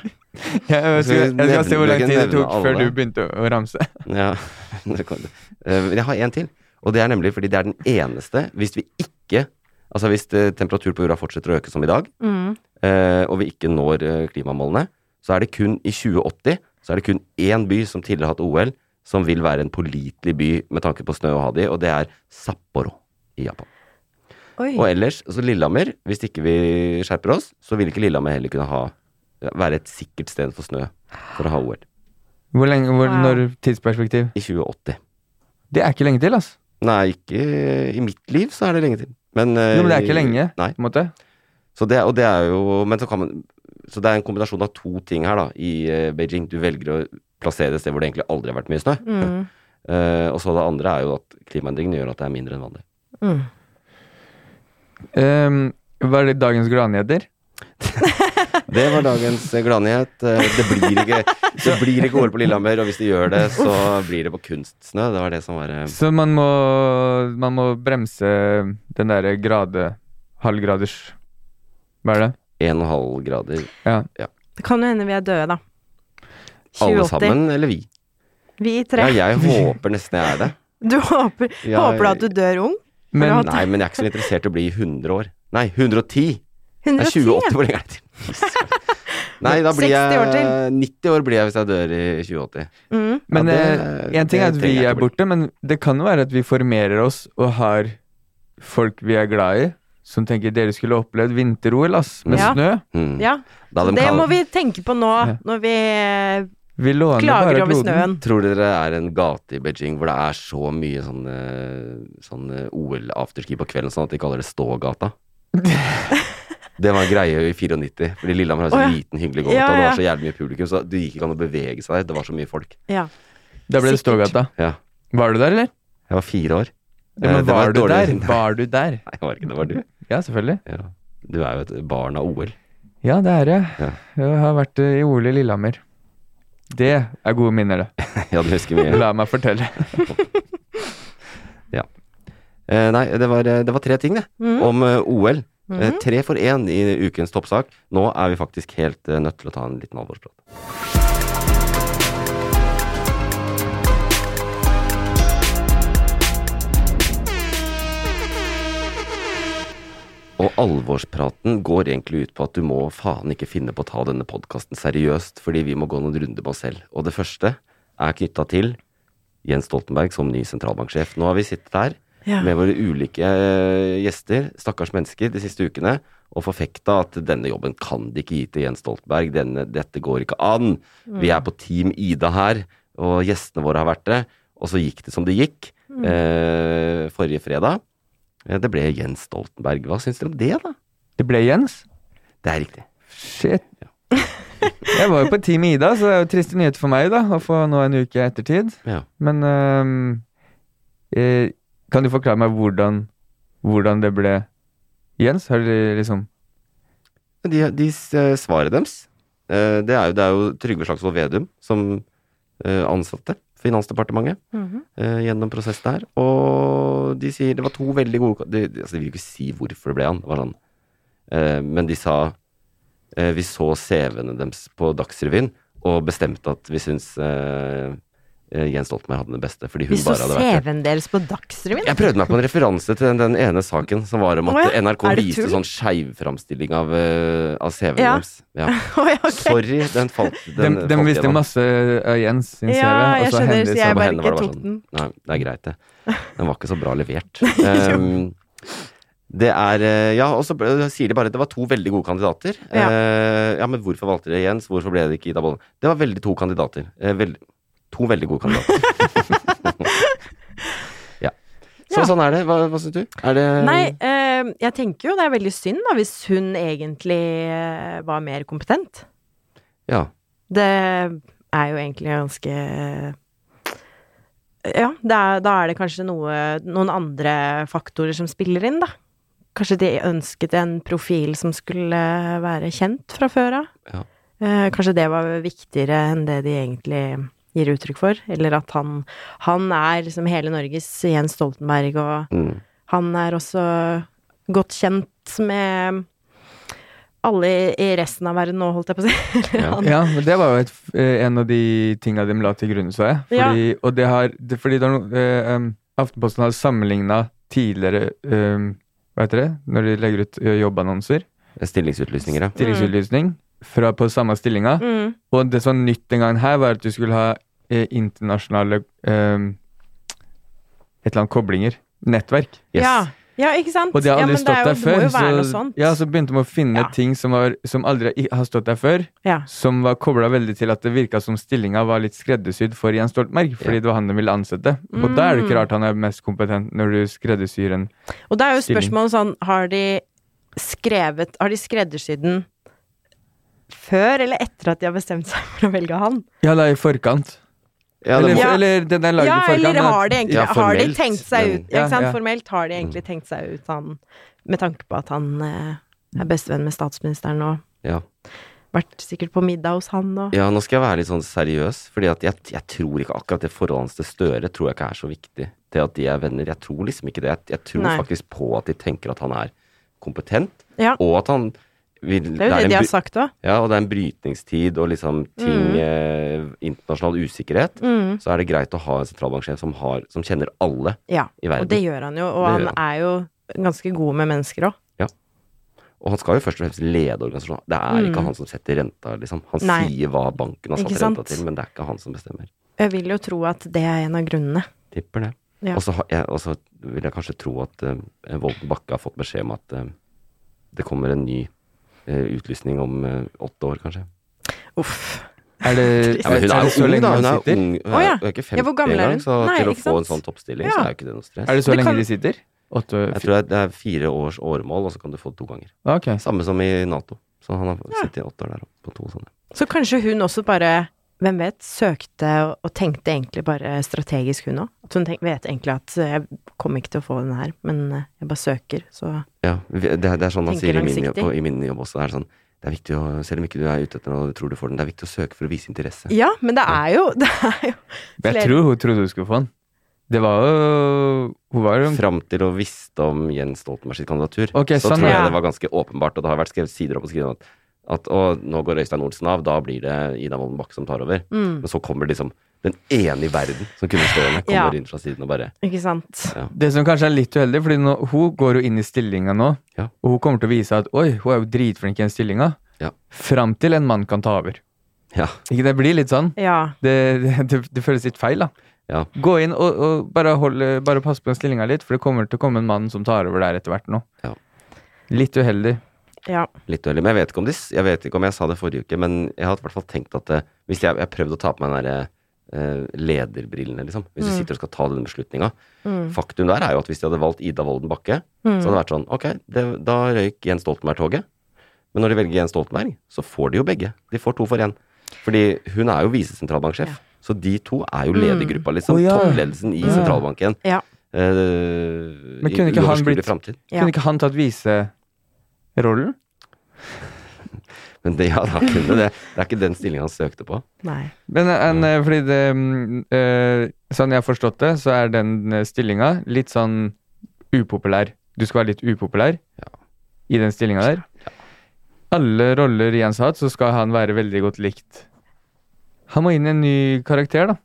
Jeg skal, jeg skal se hvor lang tid det
Nevne
tok før
alle.
du begynte å ramse.
Ja, det kan du. Eh, men Jeg har en til, og det er nemlig fordi det er den eneste Hvis vi ikke Altså hvis eh, temperaturen på jorda fortsetter å øke som i dag,
Mm.
eh, og vi ikke når eh, klimamålene, så er det kun i 2080 så er det kun én by som tidligere har hatt OL, som vil være en pålitelig by med tanke på snø og ha det i, og det er Sapporo i Japan.
Oi.
Og ellers, så Lillehammer, hvis ikke vi skjerper oss, så vil ikke Lillehammer heller kunne ha være et sikkert sted for snø for å ha OL.
Hvor lenge, hvor,
Wow.
Når tidsperspektiv?
I 2080.
Det er ikke lenge til, altså.
Nei, ikke i mitt liv så er det lenge til. Men, eh,
Jo, men det er
i-
ikke lenge.
Nei.
På en måte.
Så det, og det er jo Men så kan man Så det er en kombinasjon av to ting her, da, i eh, Beijing. Du velger å plassere et sted hvor det egentlig aldri har vært mye snø.
Mm.
Eh, og så det andre er jo at klimaendringene gjør at det er mindre enn vanlig.
Mm.
Ehm, var det dagens gladnyheter?
Det var dagens eh, gladnyhet. Eh, Det blir ikke Det blir ikke OL på Lillehammer, og hvis det gjør det, så blir det på kunstsnø. Det var det som var eh,
Så man må, man må bremse den derre grade Halvgraders Hva er det?
1,5 grader.
Det kan jo hende vi er døde, da.
Alle
2080.
sammen, eller vi?
Vi
Ja,
tre.
jeg håper nesten jeg er det.
Du håper,
Jeg-
håper du at du dør ung?
Men
Bra.
Nei, men jeg er ikke så interessert i å bli 100 år. Nei, 110! Det er
110?
2080, hvor lenge er det til? Nei, da blir
60 år
jeg
til.
90 år blir jeg hvis jeg dør i 2080.
Mm.
Men
Ja,
eh,
det-
en ting
det
er at
trenger
vi
jeg
er
ikke bli.
borte, men det kan jo være at vi formerer oss og har folk vi er glad i, som tenker dere skulle opplevd vinter-OL, ass, med
Ja.
snø.
Mm.
Ja,
Da de
det
kan-
må vi tenke på nå,
Ja.
når vi eh,
Vi låner
klager
bare
over
kloden.
snøen.
Tror dere det er en gate i Beijing hvor det er så mye sånn, eh, sånn eh, OL-afterski på kvelden, sånn at de kaller det Stågata? Det var en greie i 94, fordi Lillehammer har
Å,
så
ja.
liten, hyggelig gågata.
Ja,
og Det var
ja.
så jævlig mye publikum, så det gikk ikke an å bevege seg der. Det var så mye folk.
Ja.
Da ble det
Sikkert.
Stågata.
Ja.
Var du der, eller?
Jeg var fire år.
Ja,
Eh,
men
det var
var,
et
du
dårlig-
der? Var du der?
Nei, jeg var ikke det. var du.
Ja, selvfølgelig.
Ja. Du er jo et barn av OL.
Ja, det er jeg.
Ja.
Jeg har vært eh, i OL i Lillehammer. Det er gode minner, det.
Ja, du husker mye.
La meg fortelle.
Eh, nei, det var, eh, det var tre ting, det.
Mm. Mm-hmm.
Om eh, OL. Eh, tre for én i ukens toppsak. Nå er vi faktisk helt eh, nødt til å ta en liten alvorsprat. Og alvorspraten går egentlig ut på at du må faen ikke finne på å ta denne podkasten seriøst, fordi vi må gå noen runder med oss selv. Og det første er knytta til Jens Stoltenberg som ny sentralbanksjef. Nå har vi sittet her
Ja.
med våre ulike eh, gjester, stakkars mennesker, de siste ukene, og forfekta at denne jobben kan de ikke gi til Jens Stoltenberg, denne, dette går ikke an. Vi er på Team Ida her, og gjestene våre har vært det. Og så gikk det som det gikk eh, forrige fredag. Eh, Det ble Jens Stoltenberg. Hva syns dere om det, da?
Det ble Jens.
Det er riktig.
Shit. Jeg var jo på Team Ida, så det er jo triste nyheter for meg da, å få nå en uke ettertid.
Ja.
Men øhm, eh, kan du forklare meg hvordan, hvordan det ble Jens? Har du liksom
Men De, de s- eh, svaret deres, eh, det er jo, det er jo Trygve Slagsvold Vedum som eh, ansatte Finansdepartementet
Mhm.
eh, gjennom prosessen her. Og de sier det var to veldig gode ka- de, de- altså, de vil jo ikke si hvorfor det ble han, det var sånn. Eh, men de sa eh, Vi så CV-ene deres på Dagsrevyen og bestemte at vi syns eh, eh, Jens Stoltenberg hadde det beste fordi hun
Vi så
bare hadde vært det.
CV-en deres på Dagsrevyen.
Jeg prøvde meg på en referanse til den, den ene saken som var om at
Å ja,
NRK
er det
viste
tull?
sånn skeivframstilling av, eh, av CV-en
Ja.
deres. Ja.
Å, ja, ok.
Sorry, den falt den
De, de
falt
visste
gjennom.
masse av Jens sin CV,
Ja,
og
jeg
så
skjønner,
hennes
så jeg
på
av-
bare
henne var det
ikke tok
bare sånn.
den.
Nei, det er greit, det. Den var ikke så bra levert. Ehm, det er eh, Ja, og så ble- sier de bare at det var to veldig gode kandidater.
Ja.
Eh, ja, men hvorfor valgte dere Jens? Hvorfor ble det ikke Ida Bollen? Det var veldig to kandidater. Eh, veld, to veldig gode kandidater. ja. Så
Ja.
sånn er det. Hva, hva syns du? Er det
Nei, eh, jeg tenker jo det er veldig synd da, hvis hun egentlig eh, var mer kompetent.
Ja.
Det er jo egentlig ganske Ja, det er, da er det kanskje noe, noen andre faktorer som spiller inn, da. Kanskje de ønsket en profil som skulle være kjent fra før av.
Ja.
Eh, Kanskje det var viktigere enn det de egentlig gir uttrykk for. Eller at han, han er liksom hele Norges Jens Stoltenberg, og
Mm.
han er også godt kjent med alle i- i resten av verden nå, holdt jeg på å si. Eller
Ja.
han-
Ja, men det var jo et, eh, en av de tinga de la til grunn, så jeg. Fordi, Og det har det, Fordi det er noe eh, em, Aftenposten har sammenligna tidligere em, Hva heter det? Når de legger ut eh, jobbannonser.
Stillingsutlysninger, ja.
Stillingsutlysning fra, på samme stillinga.
Mm.
Og det som var nytt den gangen her, var at du skulle ha eh, internasjonale em, Et eller annet koblinger. Nettverk.
Yes.
Ja. ja, ikke sant?
Og det har
ja,
aldri
men det er
stått
jo-
der før.
Det må jo være noe
så,
sånt.
ja, så begynte de å finne
Ja.
ting som, var, som aldri i- har stått der før.
Ja.
som var kobla veldig til at det virka som stillinga var litt skreddersydd for Jens Stoltenberg, fordi det var han de ville ansette. Og da er det
Mm.
ikke rart han er mest kompetent, når du skreddersyr en
Og da er jo
Stilling.
spørsmålet sånn, har de skrevet Har de skreddersydd den før eller etter at de har bestemt seg for å velge han?
Ja, da i forkant.
Ja, det
eller,
må,
Ja.
eller den er laget
Ja,
i forkant.
eller
men-
har de egentlig
Ja,
Har de
formelt,
tenkt seg
men-
ut ikke
Ja,
sant?
ja.
Formelt har de egentlig tenkt seg ut han med tanke på at han eh, er bestevenn med statsministeren og
ja.
vært sikkert på middag hos han og
ja, nå skal jeg være litt sånn seriøs, fordi at jeg, jeg tror ikke akkurat det forholdet hans til Støre tror jeg ikke er så viktig. Det at de er venner, jeg tror liksom ikke det. Jeg, jeg tror
Nei.
faktisk på at de tenker at han er kompetent,
Ja.
og at han vil
Det er jo det,
en
de har
bry-
Mm. sagt òg.
Ja, og det er en brytningstid og liksom ting eh, Internasjonal usikkerhet.
Mm.
Så er det greit å ha en sentralbanksjef som, har, som kjenner alle
Ja.
i
Og det
verden.
gjør han jo, og
Det
han
gjør
er jo ganske god med mennesker òg.
Og han skal jo først og fremst lede organisasjonen. Det er ikke han som setter renta, liksom. Han
Mm. Nei.
sier hva banken har
Ikke
satt
sant?
renta til, men det er ikke han som bestemmer.
Jeg vil jo tro at det er en av grunnene.
Tipper det.
Ja.
Og så har jeg- og så vil jeg kanskje tro at eh, Volten Bakke har fått beskjed om at eh, det kommer en ny eh, utlysning om eh, åtte år, kanskje.
Uff.
Er det,
Ja, men hun
er
er
det så
jo ung,
lenge
da.
man
Hun er
sitter?
ung. Hun
Å
er,
ja.
hun er ikke
Ja, hvor
50
gammel er hun?
engang, så
Nei,
til å
ikke
få en sånn
sant?
toppstilling,
Ja.
så er jo ikke det noe stress.
Er det så
Det
lenge
kan-
de sitter? Åtte
Jeg tror det er fire års åremål, og så kan du få to ganger.
Ok.
Samme som i Nato. Så han har sittet i åtte år der oppe på to sånne.
Så kanskje hun også bare, hvem vet, søkte og- og tenkte egentlig bare strategisk, hun òg. At hun tenk, vet egentlig at eh, jeg kommer ikke til å få den her, men eh, jeg bare søker, så
Ja, vi- det, er- det er sånn han
Tenker
sier i min, jobb,
langsiktig.
på- i min jobb også. Det er sånn, det er viktig å, selv om ikke du er ute etter noe og du tror du får den, det er viktig å søke for å vise interesse.
Ja, men det er jo Det er jo
Men
flere-
jeg tror hun trodde hun skulle få den. Det var jo Hun var jo
Fram til å visste om Jens Stoltenberg sitt kandidatur,
Ok,
så
sånn,
tror jeg
ja.
det var ganske åpenbart, og det har vært skrevet sider opp og skrevet om at, at å, nå går Øystein Olsen av, da blir det Ida Wolden Bakke som tar over. Men så kommer liksom den ene i verden som kunne stå henne,
Mm. Ja.
kommer inn fra siden og bare
Ikke sant.
Det som kanskje er litt uheldig, fordi nå, hun går jo inn i stillinga nå,
Ja.
og hun kommer til å vise at oi, hun er jo dritflink i den stillinga,
Ja.
fram til en mann kan ta over.
Ja.
Ikke det blir litt sånn?
Ja.
Det, det, det, det føles litt feil, da.
Ja.
Gå inn og, og bare, holde, bare pass på den stillinga litt, for det kommer til å komme en mann som tar over der etter hvert nå.
Ja.
Litt uheldig.
Ja.
Litt uheldig. Men jeg vet, ikke om de, jeg vet ikke om jeg sa det forrige uke, men jeg har i hvert fall tenkt at eh, hvis jeg, jeg prøvde å ta på meg den derre eh, lederbrillene, liksom. Hvis du sitter og skal ta den beslutninga. Faktum der er jo at hvis de hadde valgt Ida Wolden Bakke, så hadde det vært sånn Ok, det, da røyk Jens Stoltenberg-toget. Men når de velger Jens Stoltenberg, så får de jo begge. De får to for én. Fordi hun er jo visesentralbanksjef. Så de to er jo ledergruppa, liksom.
Å, ja.
Toppledelsen i
Ja.
sentralbanken.
Ja.
Eh,
Men
i
kunne ikke han
uoverskuelig
blitt-
fremtid.
Ja.
Kunne ikke han tatt viserollen?
Men det, ja, han kunne det. Det er ikke den stillinga han søkte på.
Nei.
Men en, eh, fordi det mm, eh, Sånn jeg har forstått det, så er den stillinga litt sånn upopulær. Du skal være litt upopulær i den stillinga der. Alle roller Jens har hatt, så skal han være veldig godt likt. Han må inn i en ny karakter, da.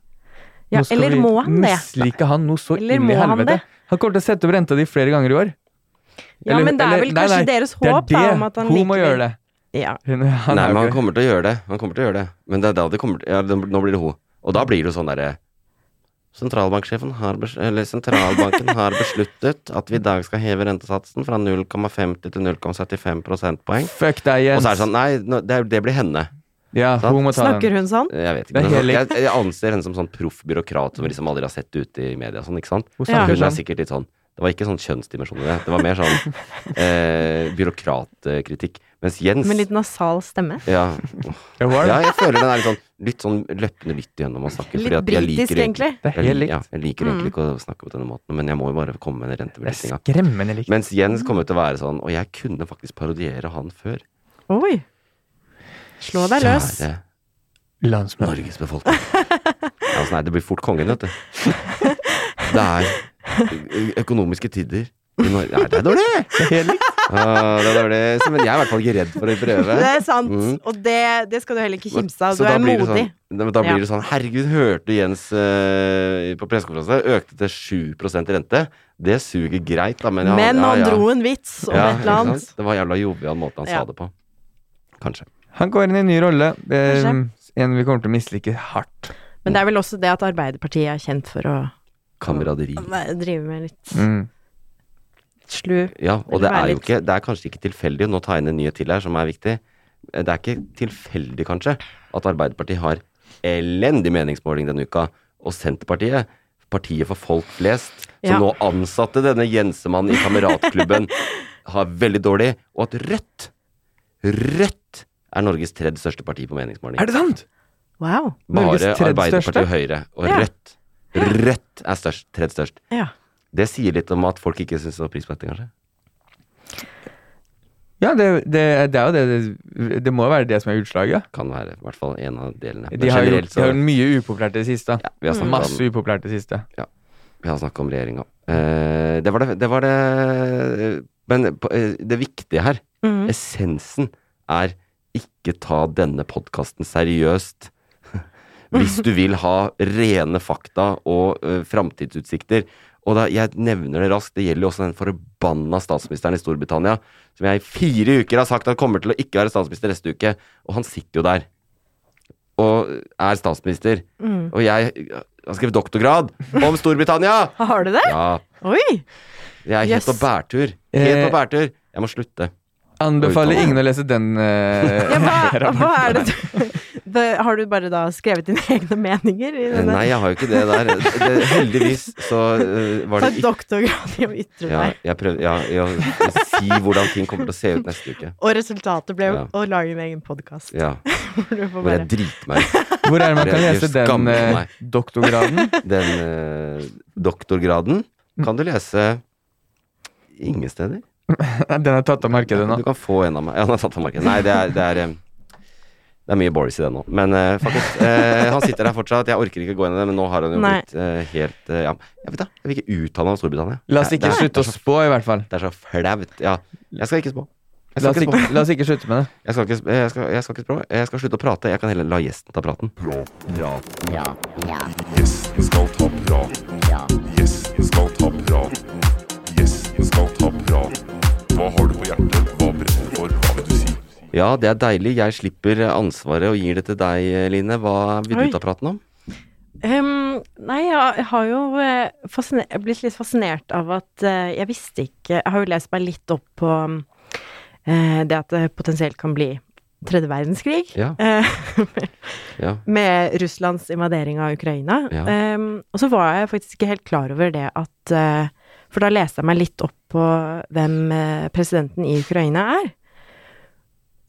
Ja,
Nå skal
eller
vi
må han det?
Mislike han noe så
Eller
inn i
må han
helvete.
det?
Han, kommer til å sette opp renta di flere ganger i år.
Ja,
Eller-
men det er
eller-
vel
nei,
kanskje
nei,
deres
det er
håp da,
det.
om at han
Hun må
likevel-
gjøre det.
Ja.
Hun, han
Nei,
er jo
men han
ikke-
kommer til å gjøre det. Han kommer til å gjøre det. Men det er da det kommer til ja, det- Nå blir det hun. Og da blir det jo sånn derre Sentralbanksjefen har bes- Eller sentralbanken har besluttet at vi i dag skal heve rentesatsen fra 0,50 til 0,75 prosentpoeng.
Fuck deg,
Og
Jens.
så er det sånn Nei, nå- det, er- det blir henne.
ja, hun må ta
Snakker
den.
hun sånn?
Jeg vet
Det
ikke.
er
Men sånn,
helt
jeg, jeg anser henne som sånn proff byråkrat som vi liksom aldri har sett ute i media og sånn, ikke sant.
Hun
Ja.
snakker
Hun er
sånn.
sikkert litt sånn Det var ikke sånn kjønnsdimensjon i det. Det var mer sånn eh, byråkratkritikk. Mens Jens
Med litt nasal stemme?
Ja.
Ja, hun er det.
Ja, jeg føler den er litt sånn, litt sånn løpende lytt igjennom og snakker. fordi
Litt
at jeg
britisk,
liker
egentlig. Mm.
Det er helt
jeg,
likt.
lik- ja, jeg liker egentlig ikke å snakke på denne måten, men jeg må jo bare komme med den
Det er
rentebelysninga.
skremmende likt.
Mens Jens kommer til å være sånn, og jeg kunne faktisk parodiere han før.
Oi! Slå deg løs.
Kjære
Landsmann.
Norges befolkning. Ja, altså, nei, det blir fort kongen, vet du. Det er ø- økonomiske tider i Norge Nei, det er dårlig!
Helt likt.
Ah, det var det. Så, men jeg er i hvert fall ikke redd for å prøve.
Det er sant,
Mm.
og det, det skal du heller ikke kimse av.
Så
Du
da
er
blir det
modig.
Sånn, da- da blir
Ja.
det sånn Herregud, hørte du Jens eh, på pressekonferanse? Økte til 7 rente. Det suger greit, da, men ja,
Men
ja,
han
ja.
dro en vits om
Ja,
et eller
ikke sant?
annet.
Det var jævla jovial måte han
Ja.
sa det på. Kanskje.
Han går inn i en ny rolle. Eh,
Kanskje.
en vi kommer til å mislike hardt.
Men det er vel også det at Arbeiderpartiet er kjent for å
Kameraderi.
drive med litt
Mm.
slu
Ja, og
Vil det
det er
være
jo
litt-
ikke Det er kanskje ikke tilfeldig, og nå tar jeg inn en nyhet til her som er viktig. Eh, Det er ikke tilfeldig, kanskje, at Arbeiderpartiet har elendig meningsmåling denne uka, og Senterpartiet, partiet for folk flest, som
Ja.
nå ansatte denne Jensemannen i kameratklubben, har veldig dårlig, og at Rødt Rødt er Norges tredje største parti på meningsmåling.
Er det sant?!
Wow.
Norges
Bare
tredje
Arbeiderpartiet
største?
og Høyre. Og
Ja.
Rødt. Rødt er størst, tredje størst.
Ja.
Det sier litt om at folk ikke syns så pris på dette, kanskje.
Ja, det, det, det er jo det, det Det må jo være det som er utslaget.
kan være i hvert fall en av delene. Men
De har jo
generelt så
de har jo mye upopulært i det siste. Mm.
ja, vi har snakket om,
Masse upopulært i det siste.
vi har snakket om regjeringa. Eh, det var det, det var det eh, Men på, eh, det viktige her,
Mhm.
essensen, er ikke ta denne podkasten seriøst. Hvis du vil ha rene fakta og uh, framtidsutsikter. Og da, jeg nevner det raskt, det gjelder jo også den forbanna statsministeren i Storbritannia, som jeg i fire uker har sagt at kommer til å ikke være statsminister neste uke, og han sitter jo der. Og er statsminister. Og jeg eh, har skrevet doktorgrad om Storbritannia!
Har du det?
Ja,
Oi!
jeg er helt
Yes.
på bærtur. Helt
Eh,
på bærtur. Jeg må slutte.
Anbefaler
Oi,
ingen å lese den. eh,
Ja, hva,
rapporten.
hva er det du det, Har du bare da skrevet dine egne meninger i
Eh,
denne?
Nei, jeg har jo ikke det der. Det, heldigvis så eh, var
Ta
det ikke
doktorgrad i å ytre
ja,
deg.
jeg prøvde ja, ja, å si hvordan ting kommer til å se ut neste uke.
Og resultatet ble jo
Ja.
å lage en egen podkast.
Ja,
Hvor du får
Hvor jeg
bare
driter meg ut.
Hvor er det man kan
Jeg
lese
skammer
den eh,
meg.
doktorgraden?
Den eh, doktorgraden kan du lese ingen steder.
Den er tatt av markedet nå.
Du kan få en av meg. Ja, han har tatt av markedet. Nei, det er, det er eh, det er mye Boris i det nå, men eh, faktisk. eh, han sitter der fortsatt. Jeg orker ikke gå inn i det, men nå har han jo
Nei.
blitt eh, helt eh, ja, Jeg vet da, jeg vil ikke uttale meg om Storbritannia.
La oss
Det er-
ikke
det er
slutte å
så-
spå, i hvert fall.
Det er så flaut. Ja, jeg skal ikke spå. Jeg skal
La oss
ikke spå.
ikke, la oss ikke slutte med det.
Jeg skal ikke, jeg skal, jeg skal ikke spå. Jeg skal slutte å prate. Jeg kan heller la gjesten ta praten.
Gjesten skal ta praten. Gjesten skal ta praten. Gjesten skal ta praten. Hva har du på hjertet? Hva brenner du for? Hva vil du si?
Ja, det er deilig. Jeg slipper ansvaret og gir det til deg, Line. Hva vil
Oi.
du ta praten om?
Ehm, nei, jeg jeg har jo eh, fascine- jeg har blitt litt fascinert av at eh, jeg visste ikke Jeg har jo lest meg litt opp på eh, det at det potensielt kan bli tredje verdenskrig.
Ja.
Eh,
Ja.
med Russlands invadering av Ukraina.
Ja.
Ehm, og så var jeg faktisk ikke helt klar over det at eh, For da leste jeg meg litt opp på hvem eh, presidenten i Ukraina er.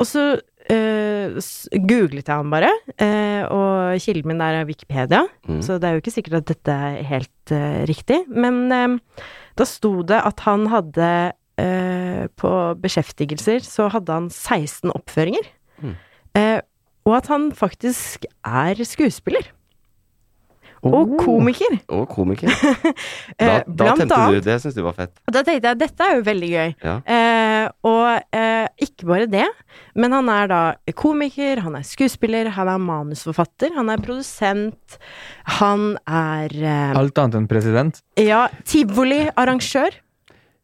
Og så eh, s- googlet jeg ham bare, eh, og kilden min der er Wikipedia,
Mm.
så det er jo ikke sikkert at dette er helt eh, riktig. Men eh, da sto det at han hadde eh, På beskjeftigelser så hadde han 16 oppføringer.
Mm.
Eh, og at han faktisk er skuespiller. Og komiker.
Og komiker. Da,
Eh,
da
blant
tente du.
annet.
Det syns du var fett.
Og da tenkte jeg dette er jo veldig gøy.
Ja.
Eh, og eh, ikke bare det, men han er da komiker, han er skuespiller, han er manusforfatter, han er produsent, han er eh,
Alt annet enn president.
ja, tivoliarrangør.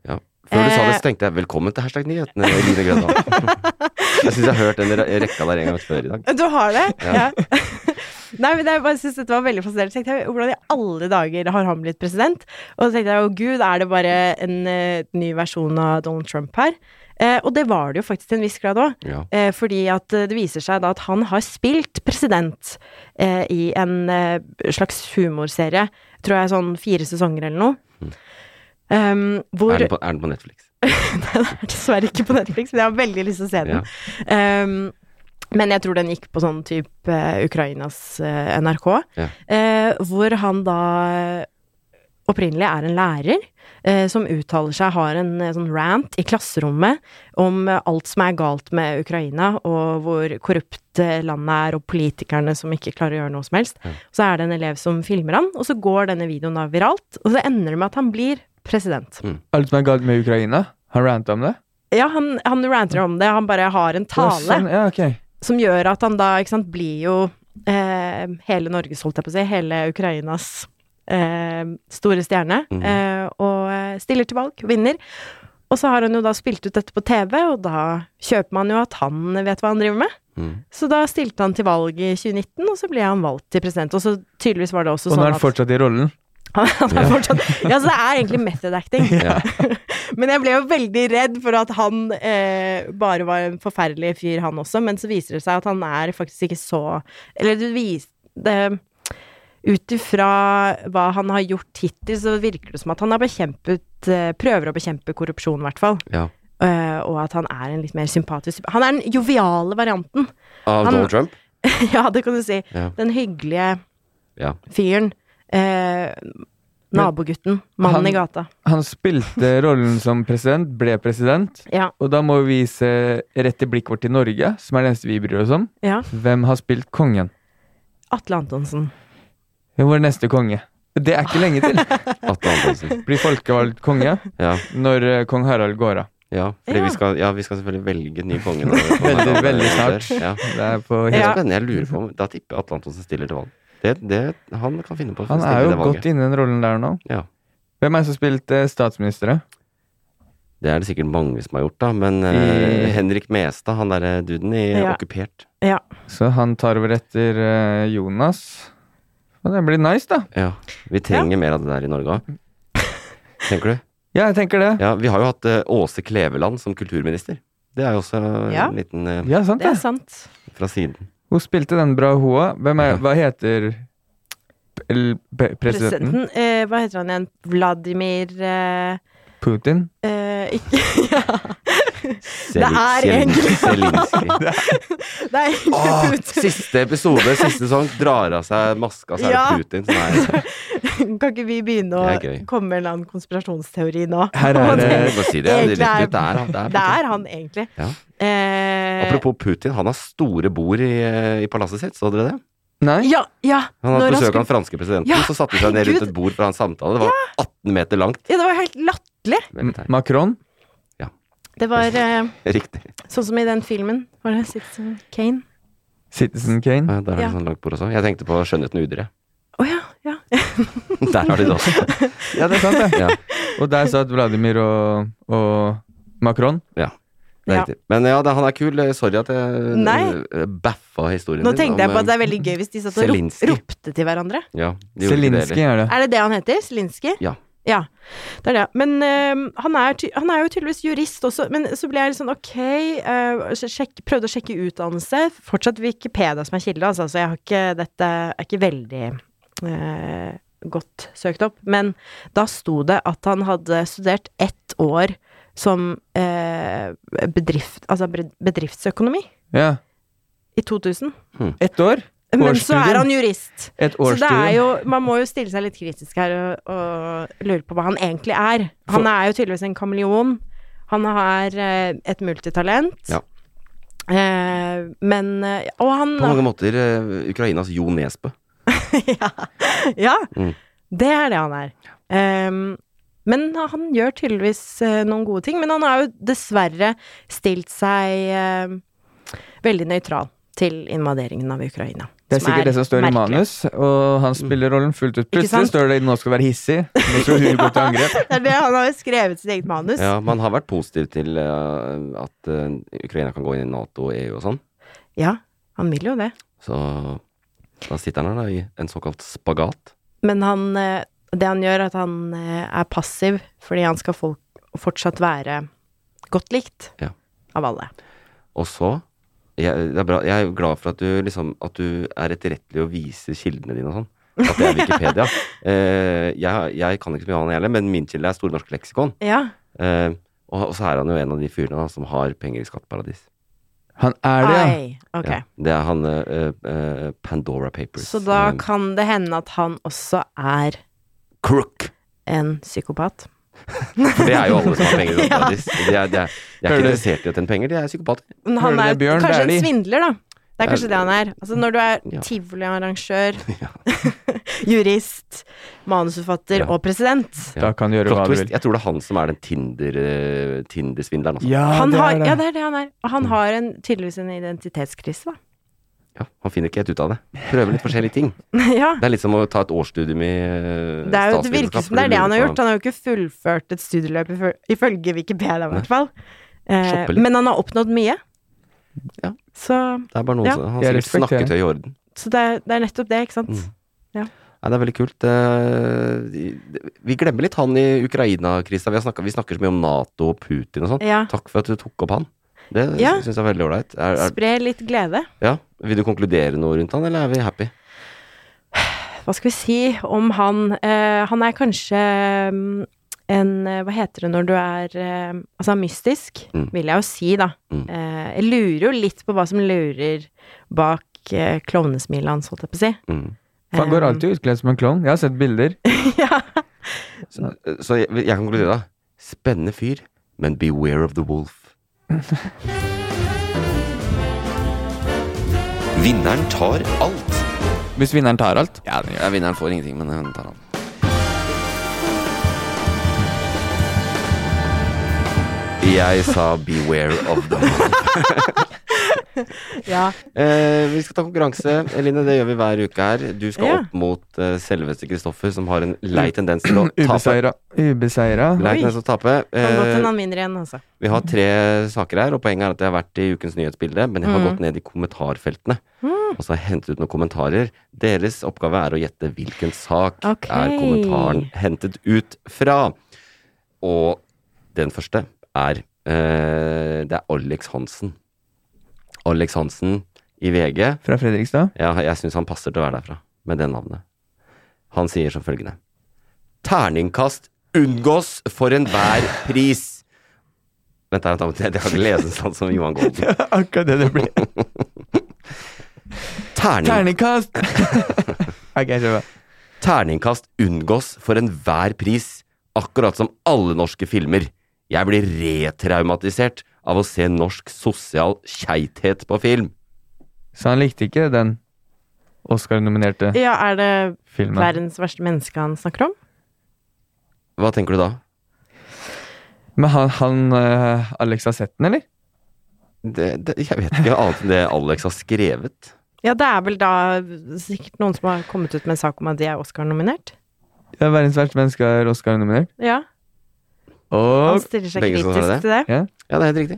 ja. Før du sa det,
Eh.
så tenkte jeg velkommen til hashtag nyhetene, Line Grøndal. jeg syns jeg har hørt den re- rekka der en gang før i dag.
Du har det?
Ja.
Ja. Nei, men jeg bare synes dette var veldig fascinerende. Så tenkte jeg, Hvordan i alle dager har han blitt president? Og så tenkte jeg å gud, er det bare en eh, ny versjon av Donald Trump her? Eh, og det var det jo faktisk til en viss grad òg.
Ja.
Eh, fordi at eh, det viser seg da at han har spilt president eh, i en eh, slags humorserie, tror jeg sånn fire sesonger eller noe. Um, hvor
Er den, på, er den på Netflix?
Den er dessverre ikke på Netflix, men jeg har veldig lyst til å se den. Um, men jeg tror den gikk på sånn type eh, Ukrainas eh, NRK,
Ja.
eh, hvor han da eh, opprinnelig er en lærer eh, som uttaler seg, har en eh, sånn rant i klasserommet om eh, alt som er galt med Ukraina, og hvor korrupt eh, landet er, og politikerne som ikke klarer å gjøre noe som helst. Og så er det en elev som filmer han, og så går denne videoen da viralt, og så ender det med at han blir president.
Alt som er galt med Ukraina. Han ranta om det.
Ja, han, han ranter om det. Han bare har en
Ja,
tale
Sånn, ja, ok.
som gjør at han da, ikke sant, blir jo eh, hele Norges, holdt jeg på å si, hele Ukrainas eh, store stjerne,
Mhm.
eh, og eh, stiller til valg, vinner. Og så har han jo da spilt ut dette på TV, og da kjøper man jo at han vet hva han driver med.
Mhm.
Mm.
Så da stilte han til valg i 2019, og så ble han valgt til president. Og så tydeligvis var det også
Og nå
sånn
er han fortsatt i rollen.
han, han er fortsatt Ja, så det er egentlig method acting.
Ja.
Men jeg ble jo veldig redd for at han eh, bare var en forferdelig fyr, han også. Men så viser det seg at han er faktisk ikke så Eller det vis- det Ut ifra hva han har gjort hittil, så virker det som at han har bekjempet eh, Prøver å bekjempe korrupsjon, i hvert fall.
ja.
Eh, og at han er en litt mer sympatisk Han er den joviale varianten.
Av
Han-
Donald Trump?
ja, det kan du si.
Ja.
Den hyggelige
Ja.
fyren. Eh, nabogutten. Mannen
han-
i gata.
Han spilte rollen som president, ble president,
Ja.
og da må vi se rett i blikket vårt til Norge, som er det eneste vi bryr oss om.
ja.
Hvem har spilt kongen?
Atle Antonsen.
Vår neste konge. Det er ikke lenge til.
Atle Antonsen.
Blir folkevalgt konge
Ja.
når eh, kong Harald går av.
Ja, fordi
Ja.
Vi, skal, ja, vi skal selvfølgelig velge ny konge. nå.
Veldig, veldig snart.
Ja.
Det er på
Det er
Ja.
spennende. Jeg lurer på om Da tipper jeg Atle Antonsen stiller til valg. Det, det, han kan finne på å
Han
stille
er jo
det valget.
godt inne i den rollen der nå.
Ja.
Hvem er det som spilte eh, statsminister?
Det er det sikkert mange som har gjort, da. Men eh,
I-
Henrik Mestad, han derre duden i
Ja.
Okkupert
Ja.
Så han tar over etter eh, Jonas. Og det blir nice, da.
Ja. Vi trenger mer av det der i Norge òg. Tenker du?
Ja, jeg tenker det.
Ja, vi har jo hatt eh, Åse Kleveland som kulturminister. Det er jo også
Ja.
en liten eh,
Ja, sant
Det
det.
er sant.
fra siden.
Hun spilte den bra, hun òg. Hvem er Hva heter p- l- p- presidenten?
Presidenten. Eh, hva heter han igjen? Vladimir eh,
Putin?
eh, Ikke Ja. Det
Selin-
er
Selin-
egentlig
Selinski.
Det er egentlig
Åh,
Putin.
siste episode, siste sesong, drar av seg maska, så er
Ja.
det Putin som er
Kan ikke vi begynne å
Det er gøy.
komme med en eller annen konspirasjonsteori nå?
Her er det
Jeg må si det,
Egentlig
det er
er-
litt- det er han. Det er
Det er
Putin.
han, egentlig.
Ja.
Eh,
Apropos Putin, han har store bord i, eh, i palasset sitt, så dere det?
Nei?
Ja, ja.
Han
Når
hadde besøk av
skulle-
den franske presidenten,
Ja,
så satte de seg ned rundt
herregud.
et bord for å ha en samtale. Det var 18 meter langt.
ja, det var helt latterlig.
Veldig teit.
Macron?
Det var eh,
Riktig.
sånn som i den filmen. Var det Citizen Kane?
Citizen Kane?
Ja, Der har de
Ja.
sånn langt bord også. Jeg tenkte på Skjønnheten og udyret.
Å ja, ja.
Der har de det også.
Ja, det er sant, det.
Ja,
Og der satt Vladimir og, og Macron.
det er
Ja.
riktig. Men ja, det, han er kul. Eh, Sorry at jeg
Nei.
eh, baffa historien
Nå
din
tenkte jeg
om,
på at det
eh,
er veldig gøy hvis de satt og rop,
Zelenskyj.
ropte til hverandre.
ja, de gjorde ikke det
Zelinskyj
heller.
er det.
Er det det han heter? Zelinski?
Ja.
Ja, det er det. Men øhm, han, er ty han er jo tydeligvis jurist også, men så ble jeg litt sånn ok øh, så sjekk, Prøvde å sjekke utdannelse. Fortsatt Wikipedia som er kilde, altså, så jeg har ikke Dette er ikke veldig øh, godt søkt opp. Men da sto det at han hadde studert ett år som øh, bedrift, altså bred- bedriftsøkonomi
Ja.
i 2000.
Ett år?
Men så
Årsstudien.
er han jurist.
Et
Så det er
årsstudie?
jo, man må jo stille seg litt kritisk her og, og lure på hva han egentlig er. Han er jo tydeligvis en kameleon. Han har eh, et multitalent.
Ja.
Eh, men eh, Og han
På mange måter eh, Ukrainas Jo Nesbø.
ja, ja.
Mm.
Det er det han er. Ehm, men han gjør tydeligvis eh, noen gode ting. Men han har jo dessverre stilt seg eh, veldig nøytral til invaderingen av Ukraina.
Det er sikkert det som står i
merkelig.
manus, og han spiller rollen fullt ut.
sant?
Plutselig står det 'nå skal du være hissig', nå skal hun gå til angrep.
Det er det han har jo skrevet sitt eget manus.
Ja, man har vært positiv til eh, at eh, Ukraina kan gå inn i Nato og EU og sånn.
Ja, han vil jo det.
Så da sitter han her da i en såkalt spagat.
Men han, eh, det han gjør, er at han eh, er passiv, fordi han skal folk fortsatt være godt likt
Ja.
av alle.
Og så jeg, det er bra, jeg er jo glad for at du, liksom, at du er etterrettelig og viser kildene dine og sånn. At det er Wikipedia. Eh, jeg, jeg kan ikke så mye om han heller, men min kilde er Store norske leksikon.
Ja,
Eh, og, og så er han jo en av de fyrene da, som har penger i skatteparadis.
Han er det, ja.
ai, ok.
Ja, det er han eh, eh, Pandora Papers.
Så da
Eh,
kan det hende at han også er
Crook!
en psykopat.
For det er jo alle som har penger i skatteparadis. De er, de er, de er
Hører du?
ikke interessert i å tjene penger, de er psykopater.
Men han
Hører du
er
det, Bjørn? Det
kanskje
er de.
en svindler, da. Det er kanskje det han er. Altså, når du er
Ja.
tivoliarrangør,
Ja.
jurist, manusforfatter
Ja.
og president
Da kan du gjøre
Plot
hva du
twist.
vil.
Jeg tror det er han som er den Tinder, eh, Tinder-svindleren. altså.
Ja,
han
Ah, det
har,
er det. Mm.
Ja, det er det han er. Og han har en, tydeligvis en identitetskrise, da.
Ja, han finner ikke helt ut av det. Prøver litt forskjellige ting.
ja.
Det er litt som å ta et årsstudium i eh,
Det, er jo, det
statsvitenskap,
virker som
for
det er det han har
lurer
gjort.
på-
Han har jo ikke fullført et studieløp ifø- ifølge Wikipedia, i
Nei.
hvert fall. Eh,
Shoppe litt.
men han har oppnådd mye.
Ja.
Så,
Det er bare noen
Ja.
som Han
Jeg
har sikkert
respekterer.
snakketøy i orden.
så det, er, det er nettopp det, ikke sant?
Mm. Nei, det er veldig kult. Eh, de- de- Vi glemmer litt han i Ukraina-krisa. Vi, har snakket- vi snakker så mye om Nato og Putin og sånn.
Ja.
Takk for at du tok opp han. Det
Ja.
syns jeg er veldig ålreit. Er- er-
Spre litt glede.
Ja. Vil du konkludere noe rundt han, eller er vi happy?
Hva skal vi si om han? Eh, han er kanskje mm, en eh, Hva heter det når du er eh, Altså, han er mystisk,
Mm.
vil jeg jo si, da.
Mm.
Eh, jeg lurer jo litt på hva som lurer bak eh, klovnesmilet hans, holdt jeg på å si.
Mm.
For han går
Eh,
alltid utkledd som en klovn. Jeg har sett bilder.
ja.
Så, eh, så jeg, jeg kan konkludere da. Spennende fyr, men beware of the wolf. Vinneren tar alt.
Hvis vinneren tar alt.
Ja, vinneren får ingenting, men han tar alt. Jeg sa 'beware of the wolf'.
ja.
Eh, vi skal ta konkurranse. Eline, det gjør vi hver uke her. Du skal
Ja. Mm.
opp mot eh, selveste Kristoffer, som har en lei tendens til å tape.
Ubeseira. Ubeseira.
Lei
Oi.
tendens til å tape.
Kan godt hende
Eh,
han vinner igjen, altså.
vi har tre saker her, og poenget er at jeg har vært i ukens nyhetsbilde, men jeg har
Mm.
gått ned i kommentarfeltene. Og så har jeg hentet ut noen kommentarer. Deres oppgave er å gjette hvilken sak
Ok.
er kommentaren hentet ut fra. Og den første er eh, Det er Alex Hansen. Alex Hansen i VG.
Fra Fredrikstad.
Ja, jeg syns han passer til å være derfra, med det navnet. Han sier som følgende Terningkast unngås for enhver pris. Vent, her, jeg kan ikke lese den sånn som Johan Golden.
Akkurat det det ble.
Terning,
Terningkast! ok, jeg skjønner.
terningkast unngås for enhver pris, akkurat som alle norske filmer. Jeg blir retraumatisert av å se norsk sosial keithet på film.
Så han likte ikke den Oscar-nominerte
Ja, er det
filmen.
verdens verste menneske han snakker om?
Hva tenker du da?
Men han, han eh, Alex har sett den, eller?
Det, det, jeg vet ikke annet enn det Alex har skrevet.
Ja, det er vel da sikkert noen som har kommet ut med en sak om at de er Oscar-nominert.
Ja, verdens verste menneske er Oscar-nominert.
Ja, han
Og
stiller seg
begge som
kritisk
sa det.
til det.
Ja, det er helt riktig.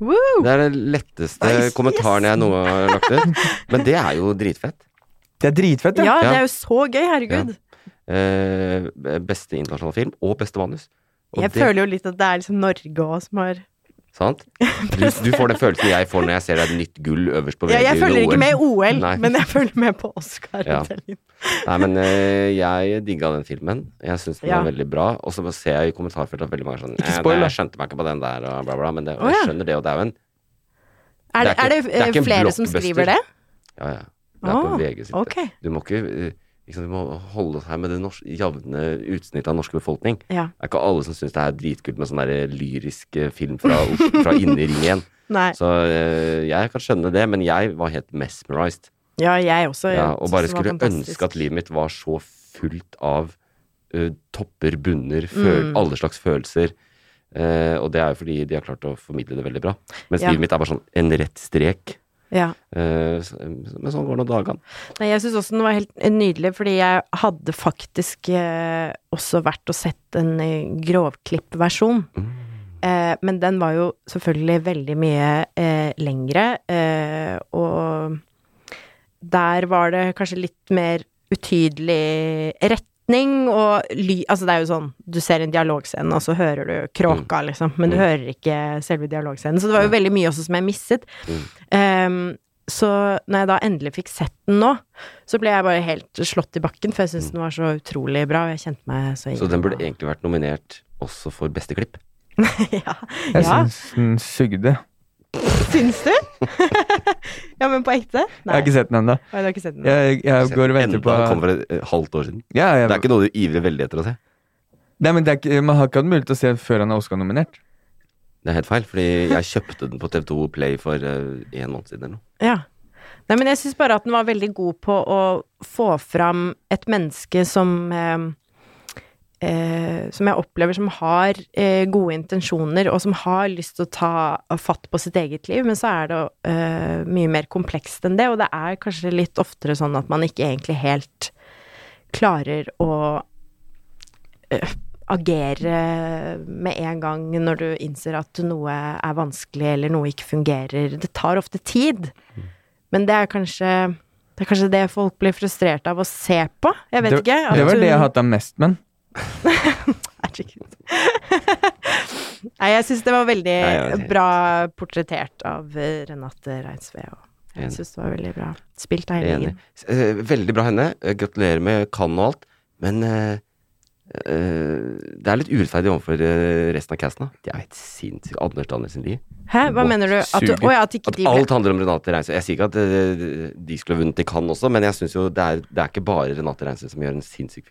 Woo!
Det er den letteste
Nice,
kommentaren jeg noe har lagt ut. Men det er jo dritfett.
det er dritfett, ja.
Ja, det er jo så gøy, herregud.
Eh, beste internasjonale film og beste manus. Og
Jeg
det-
føler jo litt at det er liksom Norge òg som har
Sant? Du, du får den følelsen jeg får når jeg ser et nytt gull øverst på
Ja,
VG
jeg
under
følger ikke
OL.
med i OL,
Nei.
men jeg følger med på Oscar.
Ja. Nei, men eh, jeg digga den filmen. Jeg syns den
Ja.
var veldig bra. Og så ser jeg i kommentarfeltet at veldig mange er sånn
Ikke
"Eh,
spoil,
nei,
da."
Jeg skjønte meg ikke på den der, og bla, bla. Men det, og
Å,
jeg
ja.
skjønner det, og det er jo en
Er det,
Det er ikke-
er det,
det er
eh,
ikke en
flere som
blockbuster.
skriver det?
Ja, ja. Det er på
Å,
VG sitt.
Ok.
Du må ikke eh, liksom, Du må holde seg med det norsk- jevne utsnittet av den norske befolkning.
Ja.
Det er ikke alle som syns det er dritkult med sånn der lyrisk eh, film fra, Os- fra inni ringen.
Nei.
Så eh, jeg kan skjønne det, men jeg var helt mesmerized.
Ja, jeg også.
Ja,
jeg
og
synes
bare
det var
skulle
fantastisk.
ønske at livet mitt var så fullt av eh, topper, bunner, føl
Mm.
alle slags følelser. Eh, og det er jo fordi de har klart å formidle det veldig bra. Mens
Ja.
livet mitt er bare sånn en rett strek.
ja.
Eh, så- men sånn går nå dagene.
Nei, jeg syns også den var helt nydelig, fordi jeg hadde faktisk eh, også vært og sett en eh, grovklippversjon. Eh, men den var jo selvfølgelig veldig mye eh, lengre, eh, og der var det kanskje litt mer utydelig retning og ly... Altså, det er jo sånn, du ser en dialogscene, og så hører du kråka,
Mm.
liksom, men du hører ikke selve dialogscenen. Så det var jo veldig mye også som jeg misset.
Mm.
Ehm, så når jeg da endelig fikk sett den nå, så ble jeg bare helt slått i bakken, for jeg syntes den var så utrolig bra, og jeg kjente meg så
Mm. Så den burde egentlig vært nominert også for beste klipp.
ja.
Jeg
ja.
syns den sugde.
Syns du? ja, men på ekte?
Jeg har ikke sett den ennå.
Oi, du har ikke sett den?
Jeg, jeg går og venter
Enda
på
kom for et eh, halvt år siden.
ja,
Det er
jeg,
ikke noe du ivrer veldig etter å se.
Nei, men det er ikke, Man har ikke hatt mulighet til å se den før han er Oscar-nominert.
Det er helt feil, fordi jeg kjøpte den på TV2 Play for eh, en måned siden eller noe.
Ja. Nei, men jeg syns bare at den var veldig god på å få fram et menneske som eh, eh, Som jeg opplever som har eh, gode intensjoner, og som har lyst til å ta fatt på sitt eget liv, men så er det eh, mye mer komplekst enn det, og det er kanskje litt oftere sånn at man ikke egentlig helt klarer å eh, agere med en gang når du innser at noe er vanskelig eller noe ikke fungerer. Det tar ofte tid.
Mm.
Men det er kanskje det er kanskje det folk blir frustrert av å se på. Jeg vet
det,
ikke. at
det var
hun-
det jeg hata mest, men.
Herregud. Nei, jeg syns det var veldig
Nei, jeg vet ikke.
bra portrettert av eh, Renate Reinsve. Og jeg
Enig.
syns det var veldig bra spilt av
Enig.
Helgen.
Eh, Veldig bra henne. Eh, Gratulerer med Cannes og alt. Men eh, eh, det er litt urettferdig overfor eh, resten av casten. da. De er helt sinnssyke. Anders Danielsen Lie.
Hæ, hva
Å,
mener du? At, du,
suger.
å ja, at ikke
At
de ble
alt handler om Renate Reinsve. Jeg sier ikke at eh, de skulle ha vunnet i Cannes også, men jeg syns jo det er, det er ikke bare Renate Reinsve som gjør en sinnssyk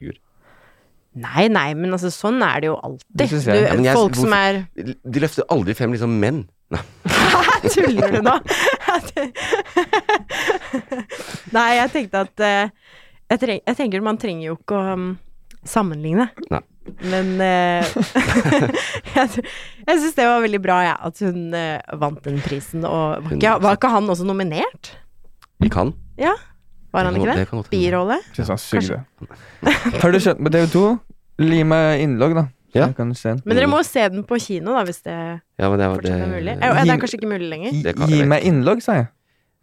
figur.
Nei, nei, men altså sånn er det jo
Det
alltid.
synes
Du,
jeg.
Ja, men jeg-
folk som er
De løfter aldri frem liksom menn. Nei.
Hæ, tuller du nå? nei, jeg tenkte at eh, jeg, treng, jeg tenker man trenger jo ikke å um, sammenligne.
Nei.
Men eh, jeg, tr- jeg syns det var veldig bra, jeg, at hun eh, vant den prisen. Og var ikke, var ikke han også nominert?
Vi kan.
Ja, var han
Det kan-
ikke
det
det?
kan godt hende.
Birolle?
Synes han sugde. Har du skjønt med TV2? Gi meg innlogg, da. Så
Ja.
jeg kan se den.
Men dere må jo se den på kino, da, hvis det
Mm. Ja, men det var
fortsatt er mulig.
det
Eh, Det
Gi-
er kanskje ikke mulig lenger.
Gi
Det kan jeg
gi
vet
meg
ikke.
innlogg, sa jeg.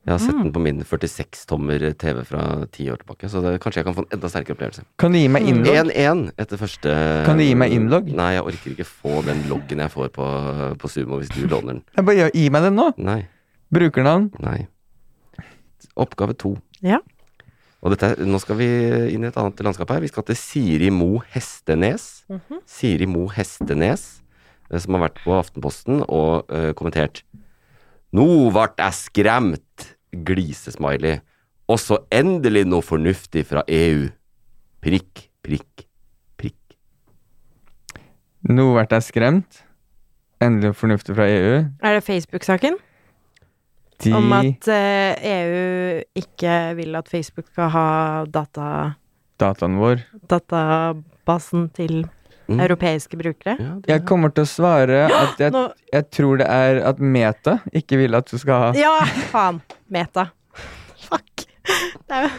Jeg har sett
Mm.
den på min 46-tommer TV fra ti år tilbake, så det, kanskje jeg kan få en enda sterkere opplevelse.
Kan du gi
Mm.
meg innlogg?
1-1 etter første
Kan du gi meg innlogg?
Nei, jeg orker ikke få den loggen jeg får på, på Sumo hvis du låner den.
Jeg bare gjør- Gi meg den nå.
Nei.
Brukernavn.
Nei. Oppgave to.
Ja.
Og dette, er- nå skal vi inn i et annet landskap her. Vi skal til Siri Mo Hestenes.
Mhm.
Siri Mo Hestenes, eh, som har vært på Aftenposten og eh, kommentert. Nå vart jeg skremt! Glisesmiley. Og så endelig noe fornuftig fra EU. Prikk, prikk, prikk.
Nå ble jeg skremt. Endelig fornuftig fra E EU.
Er det Facebook-saken?
De
Om at eh, EU ikke vil at Facebook skal ha data,
dataene våre.
databasen til
Mm.
europeiske brukere.
Ja, det,
Jeg kommer til å svare at jeg,
Nå-
jeg tror det er at Meta ikke vil at du skal ha
Ja, faen! Meta. Fuck. Det er, jo-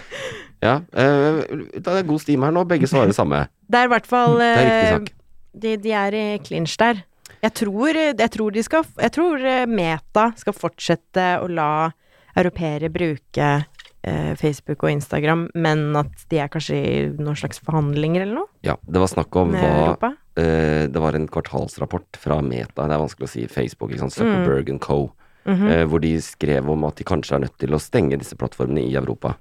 ja eh, det er god stim her nå. Begge svarer Mm, det samme.
det er i hvert fall
Det er
eh,
riktig sak.
de, de er i clinch der. Jeg tror, jeg tror, de skal, jeg tror eh, Meta skal fortsette å la europeere bruke eh, Facebook og Instagram, men at de er kanskje i noen slags forhandlinger eller noe
Ja, det var snakk om
med
hva
Europa?
eh, Det var en kvartalsrapport fra Meta, det er vanskelig å si Facebook, ikke sant? Zuckerberg and Co. eh, hvor de skrev om at de kanskje er nødt til å stenge disse plattformene i Europa.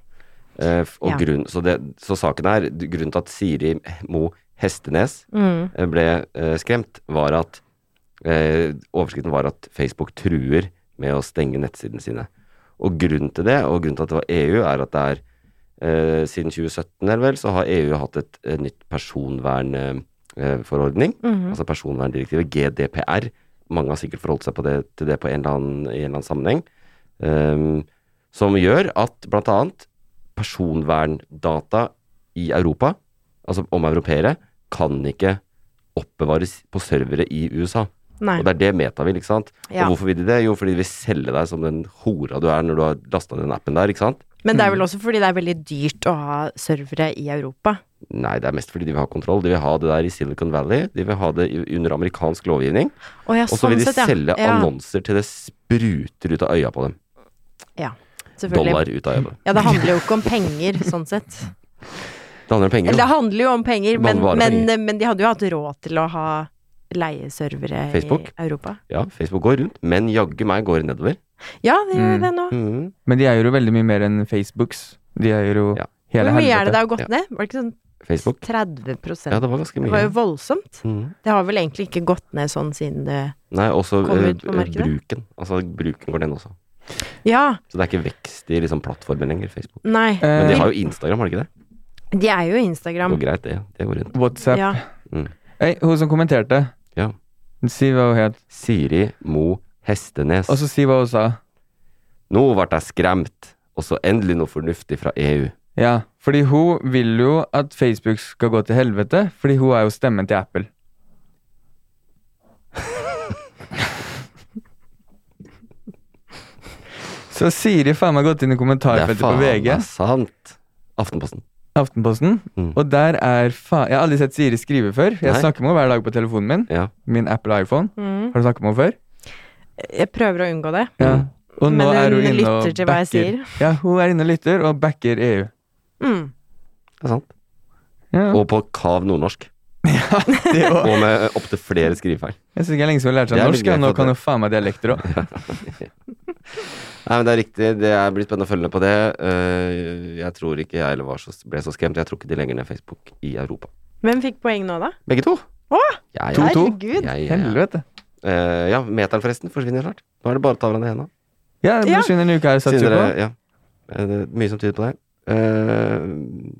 Eh, f- og
Ja.
grunn, så, det, så saken er, d- grunnen til at Siri Mo Hestenes
Mm.
eh, ble eh, skremt, var at eh, Overskriften var at Facebook truer med å stenge nettsidene sine. Og grunnen til det, og grunnen til at det var EU, er at det er eh, siden 2017 er det vel, så har EU hatt et, eh, nytt personvernforordning, eh, forordning, altså personverndirektivet, GDPR. Mange har sikkert forholdt seg på det, til det på en eller annen, i en eller annen sammenheng. ehm, som gjør at bl.a. personverndata i Europa, altså om europeere, kan ikke oppbevares på servere i USA.
Nei.
Og det er det Meta vil, ikke sant.
Ja.
Og hvorfor vil de det? Jo, fordi de vil selge deg som den hora du er når du har lasta ned den appen der, ikke sant.
Men det er
mm.
vel også fordi det er veldig dyrt å ha servere i Europa.
Nei, det er mest fordi de vil ha kontroll. De vil ha det der i Silicon Valley. De vil ha det i- under amerikansk lovgivning.
Å ja,
Og så vil de
sånn sett, ja.
selge
ja.
annonser til det spruter ut av øya på dem.
Ja, selvfølgelig.
Dollar ut av øya på dem.
Ja, det handler jo ikke om penger, sånn sett.
Det handler om penger.
Eller det
jo.
handler jo om penger, men,
Bare
men,
penger.
men de hadde jo hatt råd til å ha leieservere
Facebook?
i Europa.
Ja, Facebook går rundt, men jaggu meg går det nedover.
Ja, de gjør jo
Mm.
det nå.
Mhm.
Men de eier jo veldig mye mer enn Facebooks. De eier jo
Ja.
hele
Hvor mye er det
helvete.
det har gått
Ja.
ned? Var det ikke sånn
Facebook.
30
Ja, det var ganske
Det var jo
mye.
voldsomt.
Mhm.
Det har vel egentlig ikke gått ned sånn siden det
Nei, også
Kom
eh,
ut på
eh,
markedet.
bruken. Altså bruken går ned også.
Ja,
Så det er ikke vekst i liksom plattformen lenger, Facebook.
nei.
Men
Eh,
de har jo Instagram, har de ikke det?
De er jo
Det
Instagram.
går greit, det. Det går rundt.
WhatsApp.
Ja.
Mhm.
Hei, hun som kommenterte.
Ja.
Si hva hun het.
Siri Mo Hestenes.
Og så si hva hun sa.
Nå ble jeg skremt, og så endelig noe fornuftig fra E EU.
Ja, fordi hun vil jo at Facebook skal gå til helvete, fordi hun er jo stemmen til Apple. Så Siri faen meg har gått inn i kommentarfeltet på VG,
meg sant. Aftenposten.
Aftenposten,
Mm.
og der er faen Jeg har aldri sett Siri skrive før. Jeg
Nei.
snakker med henne hver dag på telefonen min.
Ja.
Min Apple iPhone.
Mm.
Har du snakket med henne før?
Jeg prøver å unngå det.
Ja.
Mm.
Og nå
Men
er hun
hun
inne og
lytter til hva jeg
backer.
sier.
Ja, hun er inne og lytter, og backer EU.
Mm.
Det er sant.
Ja.
Og på kav nordnorsk.
Det også.
Og med opptil flere skrivefeil.
Jeg syns ikke det er lenge siden hun lærte
Det
seg
er litt
norsk, og
greit
nå
at
kan
det-
hun faen meg dialekter òg.
Nei, men det er riktig. Det er- blir spennende å følge med på det. Eh, Jeg tror ikke jeg heller var så, ble så skremt. Jeg tror ikke de legger ned Facebook i Europa.
Hvem fikk poeng nå, da?
Begge to.
Å!
Ja, ja.
To-to.
Herregud.
Ja, ja, ja.
Helvete.
Eh, ja, meteren forresten forsvinner snart. Nå er det bare å ta hverandre i hendene.
Ja, det
Ja.
forsvinner en uke her, satser
Siden
vi på.
dere- Ja. Eh, Det er mye som tyder på det. Eh,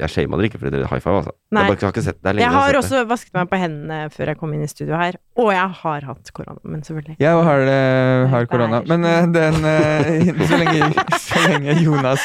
jeg shama dere ikke fordi dere high five, altså.
Nei.
Jeg bare har ikke sett det. er lenge
Jeg
siden
har
jeg sett det.
også vasket meg på hendene før jeg kom inn i studio her. Og jeg har hatt korona, men selvfølgelig.
Jeg har, det- har korona. Men eh, den eh, så, lenge, så lenge Jonas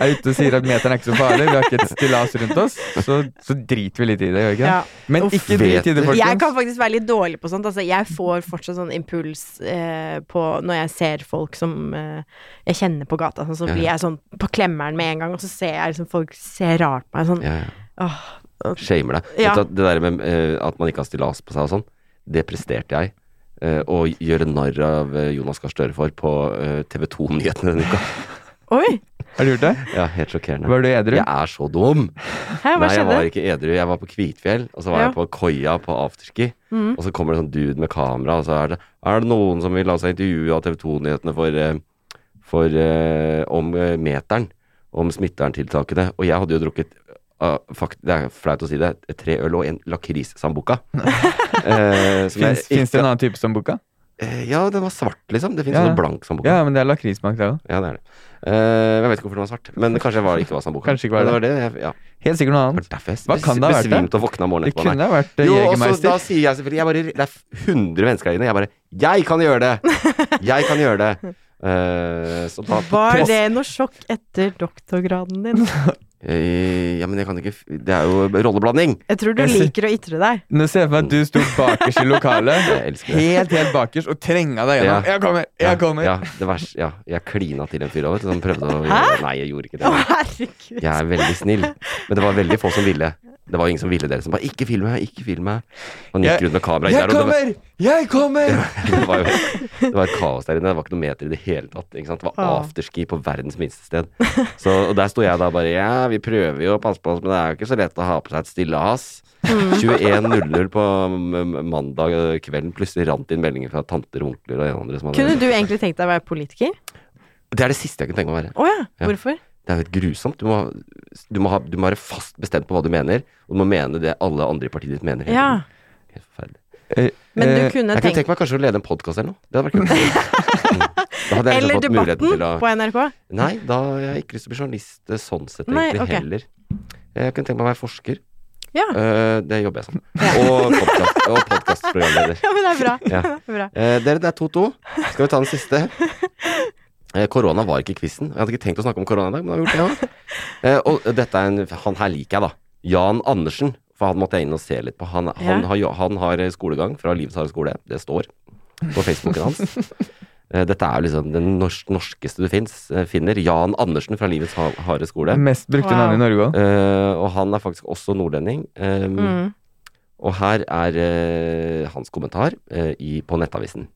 er ute og sier at meteren er ikke så farlig, vi har ikke et stillas rundt oss, så, så driter vi litt i det, gjør vi ikke det?
Ja.
Men
Uff.
ikke drit i det,
Jeg kan
folkens.
faktisk være litt dårlig på sånt. Altså, jeg får fortsatt sånn impuls eh, på når jeg ser folk som eh, jeg kjenner på gata, sånn, så
Ja, ja.
blir jeg sånn på klemmeren med en gang, og så ser jeg liksom folk ser rart på meg sånn.
Ja, ja.
Åh,
Shamer deg. Vet
Ja.
du at det der med eh, at man ikke har stillas på seg og sånn, det presterte jeg. eh, å gjøre narr av eh, Jonas Gahr Støre for på TV 2-nyhetene denne uka.
Oi!
Har du gjort det?
Ja, helt sjokkerende.
Var du edru?
Jeg er så dum!
Hæ, hva
Nei, jeg
skjedde?
var ikke edru. Jeg var på Kvitfjell, og så var
Ja. Mm.
jeg på koia på afterski. Og så kommer det en sånn dude med kamera, og så er det Er det noen som vil la seg intervjue av TV 2-nyhetene for, eh, for eh, om eh, meteren? Om smitteverntiltakene? Og jeg hadde jo drukket ah, fakt, Det er flaut å si det. Tre øl og en lakrissambuca. uh,
Fins det en annen type som boka?
eh, Ja, den var svart, liksom. Det fins
Ja,
ja.
ja.
sånn blank sambuca.
Ja, men det er lakrismak, det òg.
Ja, det er det. Eh, jeg vet ikke hvorfor den var svart, men kanskje det var, ikke var sambuca.
Kanskje ikke var
Men det. var det jeg, ja.
Helt sikkert noe
Det
annet.
var derfor jeg
Hva kan det ha vært, da?
besvimte og våkna morgenen
Det
etterpå.
kunne ha vært eh,
Jo, og så da
Jegermeister.
sier jeg selvfølgelig jeg bare, Det er 100 mennesker her inne. Jeg bare Jeg kan gjøre det! Jeg kan gjøre det! Eh, så da
Var
tross-
det noe sjokk etter doktorgraden din?
Eh, ja, men jeg kan ikke f- Det er jo rolleblanding!
Jeg tror du
Jeg ser-
liker å ytre deg.
Nå ser jeg for meg at du sto bakerst i lokalet,
Jeg elsker det.
helt, helt bakerst, og trenga deg
Ja.
gjennom. Jeg kommer! Jeg kommer!
Ja, det vers, ja, jeg klina til en fyr også, vet du, som prøvde å
Hæ?
Nei, jeg gjorde ikke
Å,
det.
herregud.
Jeg er veldig snill. Men det var veldig få som ville. Det var jo ingen som ville dere som bare 'ikke film meg, ikke film meg'. Han gikk
Jeg-
rundt med kamera
Jeg
der, og det var,
kommer! Jeg kommer!
det, var jo, det var et kaos der inne. Det var ikke noen meter i det hele tatt. Ikke sant? Det var
Ah.
afterski på verdens minste sted. Så, og der sto jeg da bare 'ja, vi prøver jo å passe på oss, men det er jo ikke så lett å ha på seg et stillehass'.
Mm.
21.00 på mm, mandag kvelden. Plutselig rant det inn meldinger fra tanter og onkler og en andre som hadde
Kunne du egentlig tenkt deg å være politiker?
Det er det siste jeg kunne tenke meg å være.
Å ja.
Ja.
Hvorfor?
Det er jo helt grusomt. Du må, ha- du, må ha, du må være fast bestemt på hva du mener, og du må mene det alle andre i partiet ditt mener. hele
Ja.
tiden. Helt forferdelig.
Eh,
Men du
eh,
kunne
Jeg kunne
tenkt
tenke meg kanskje å lede en podkast eller noe. Det hadde vært kult. Mm. Da hadde jeg liksom
Eller
fått muligheten til
Debatten
å
på NRK?
Nei, da har jeg ikke lyst til å bli journalist eh, sånn sett
Nei,
egentlig
ok.
heller. Jeg kunne tenke meg å være forsker.
Ja.
Eh, det jobber jeg som. Og podcast- og podkastprogramleder.
Ja, men det er bra.
Ja.
Det er bra.
Eh, dere, det er 2-2. Skal vi ta den siste? Eh, Korona var ikke quizen. Jeg hadde ikke tenkt å snakke om korona i dag, men da har vi gjort det. Ja. Eh, og dette er en Han her liker jeg, da. Jan Andersen. For han måtte jeg inn og se litt på. Han, han,
Ja.
har, jo- han har eh, skolegang fra Livets harde skole. Det står på Facebooken hans. Eh, Dette er jo liksom den nors norskeste du finnes, eh, finner. Jan Andersen fra Livets ha- harde skole.
Mest brukte
Wow.
navn i Norge òg.
Eh, og han er faktisk også nordlending. Eh,
Mm.
og her er eh, hans kommentar eh, i, på nettavisen.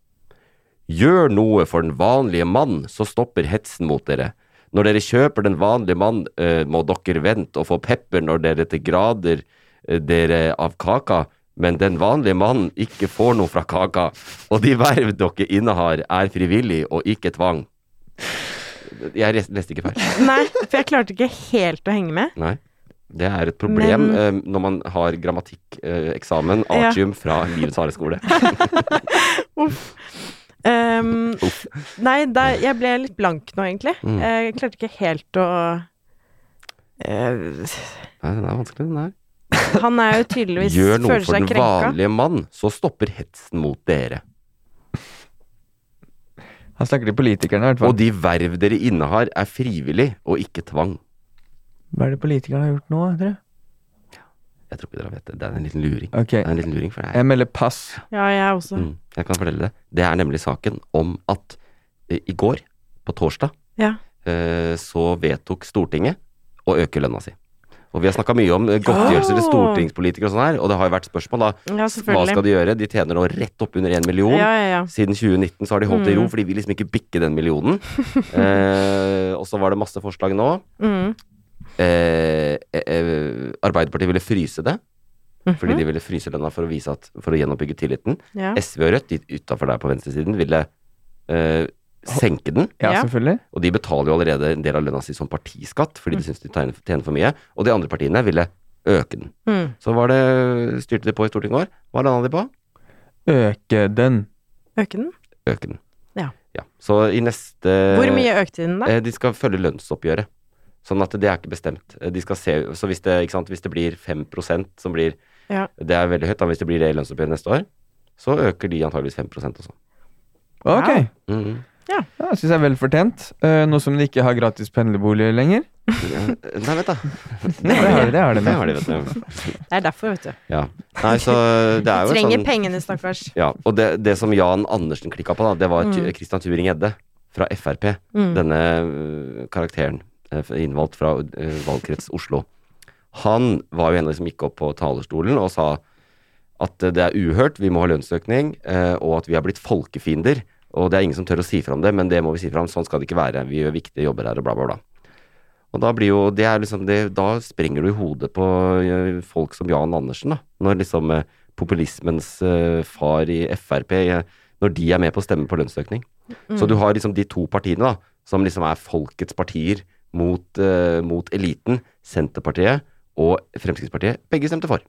Gjør noe for den vanlige mann, så stopper hetsen mot dere. Når dere kjøper den vanlige mann, eh, må dere vente og få pepper når dere til grader eh, dere av kaka, men den vanlige mannen ikke får noe fra kaka, og de verv dere innehar er frivillig og ikke tvang. Jeg res- leste ikke feil.
Nei, for jeg klarte ikke helt å henge med.
Nei. Det er et problem
Men-
eh, når man har grammatikk-eksamen,
Ja.
artium, fra Livets harde skole.
Uff. Ehm,
Uff.
nei, der, jeg ble litt blank nå, egentlig.
Mm.
Eh, Jeg klarte ikke helt å Eh,
Nei, den er vanskelig, den her.
Han er jo tydeligvis
Gjør noe
føler
for
seg
den
krenka.
vanlige mann, så stopper hetsen mot dere.
Han snakker til politikerne, i hvert
Og
fall.
de verv dere innehar, er frivillig og ikke tvang.
Hva er det politikerne har gjort nå, tror jeg?
Jeg tror ikke dere vet det. Det er en liten luring.
Ok,
Det er en liten luring for deg.
jeg melder pass.
Ja, jeg også.
Mm, jeg kan fortelle det. Det er nemlig saken om at eh, i går, på torsdag,
Ja.
eh, så vedtok Stortinget å øke lønna si. Og vi har snakka mye om eh, godtgjørelser til
Ja.
stortingspolitikere og sånn her, og det har jo vært spørsmål, da.
Ja,
Hva skal
selvfølgelig.
de gjøre? De tjener nå rett opp under én million.
Ja, ja, ja.
Siden 2019 så har de holdt det i ro,
Mm.
for de vil liksom ikke bikke den millionen. eh, og så var det masse forslag nå.
Mm.
Eh, eh, eh, Arbeiderpartiet ville fryse det, fordi de ville fryse lønna for å vise at For å gjenoppbygge tilliten.
mhm. Ja.
SV og Rødt, de utafor der på venstresiden, ville eh, senke den.
Ja,
Ja.
selvfølgelig.
Og de betaler jo allerede en del av lønna si som partiskatt, fordi
Mm.
de syns de tjener tjener for mye. Og de andre partiene ville øke den.
Mm.
Så var det, styrte de på i Stortinget i år. Hva landa de på?
Øke den.
Øke den?
øke den.
Ja.
Så i neste
Hvor mye økte den, da?
Eh, De skal følge lønnsoppgjøret. Sånn at det er ikke bestemt. Eh, De skal se, så hvis det, ikke sant, hvis det blir 5 som blir
Ja.
Det er veldig høyt, da, men hvis det blir det i lønnsoppgjøret neste år, så øker de antageligvis 5 også.
Ok.
Wow.
Mhm.
Ja, jeg syns jeg er vel fortjent. Eh, nå som de ikke har gratis pendlerbolig lenger.
Ja. mm. Nei, vent, da.
Det har de, det har de.
Det har
nå.
de, vet du.
Det er derfor, vet du.
Ja. Nei, så det er jo en
Trenger
sånn
pengene, stakkars.
Ja, og det, det som Jan Andersen klikka på, da, det var
Mm.
mm. Christian Turing Gjedde fra Frp.
Mm.
Denne øh, karakteren øh, innvalgt fra øh, valgkrets Oslo. Han var jo en av de som gikk opp på talerstolen og sa at øh, det er uhørt, vi må ha lønnsøkning, øh, og at vi har blitt folkefiender. Og det er ingen som tør å si fra om det, men det må vi si fra om. Sånn skal det ikke være. Vi gjør viktige jobber her, og bla, bla, bla. Og da blir jo det er liksom det, Da sprenger du i hodet på øh, folk som Jan Andersen, da. Når liksom øh, populismens eh, far i Frp, eh, når de er med på å stemme på lønnsøkning. Så du har liksom de to partiene, da, som liksom er folkets partier mot, eh, mot eliten. Senterpartiet og Fremskrittspartiet. Begge stemte for.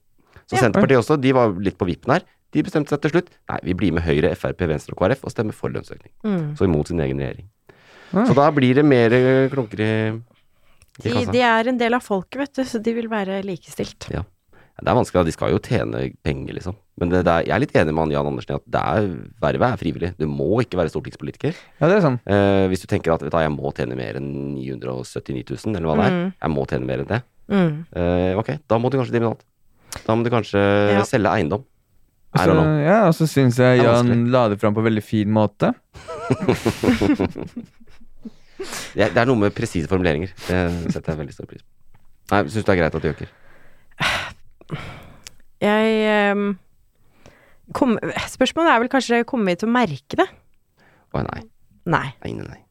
Så Senterpartiet også, de var litt på vippen her. De bestemte seg til slutt. Nei, vi blir med Høyre, Frp, Venstre og KrF og stemmer for lønnsøkning.
Mm.
Så imot sin egen regjering.
Ja.
Så da blir det mer eh, klunker i, i
De,
kassa.
de er en del av folket, vet du, så de vil være likestilt.
Ja, Det er vanskelig, da. De skal jo tjene penger, liksom. Men det, det er, jeg er litt enig med han Jan Andersen i at det er, vervet er frivillig. Du må ikke være stortingspolitiker.
Ja, det er sånn.
Eh, hvis du tenker at vet du, hva, jeg må tjene mer enn 979 000, eller hva det er. Jeg må tjene mer enn det.
Mm.
Eh, ok, da må du kanskje drive med noe annet. Da må du kanskje
Ja.
selge eiendom. I
Så,
don't know.
ja, og så syns
Det
jeg
er
Jan
vanskelig.
la det fram på en veldig fin måte.
Det, det er noe med presise formuleringer. Det setter jeg veldig stor pris på. Nei, Syns du det er greit at de øker?
Jeg ehm, kom, Spørsmålet er vel kanskje kommer vi til å merke det?
Å nei.
Nei.
Nei, nei, nei.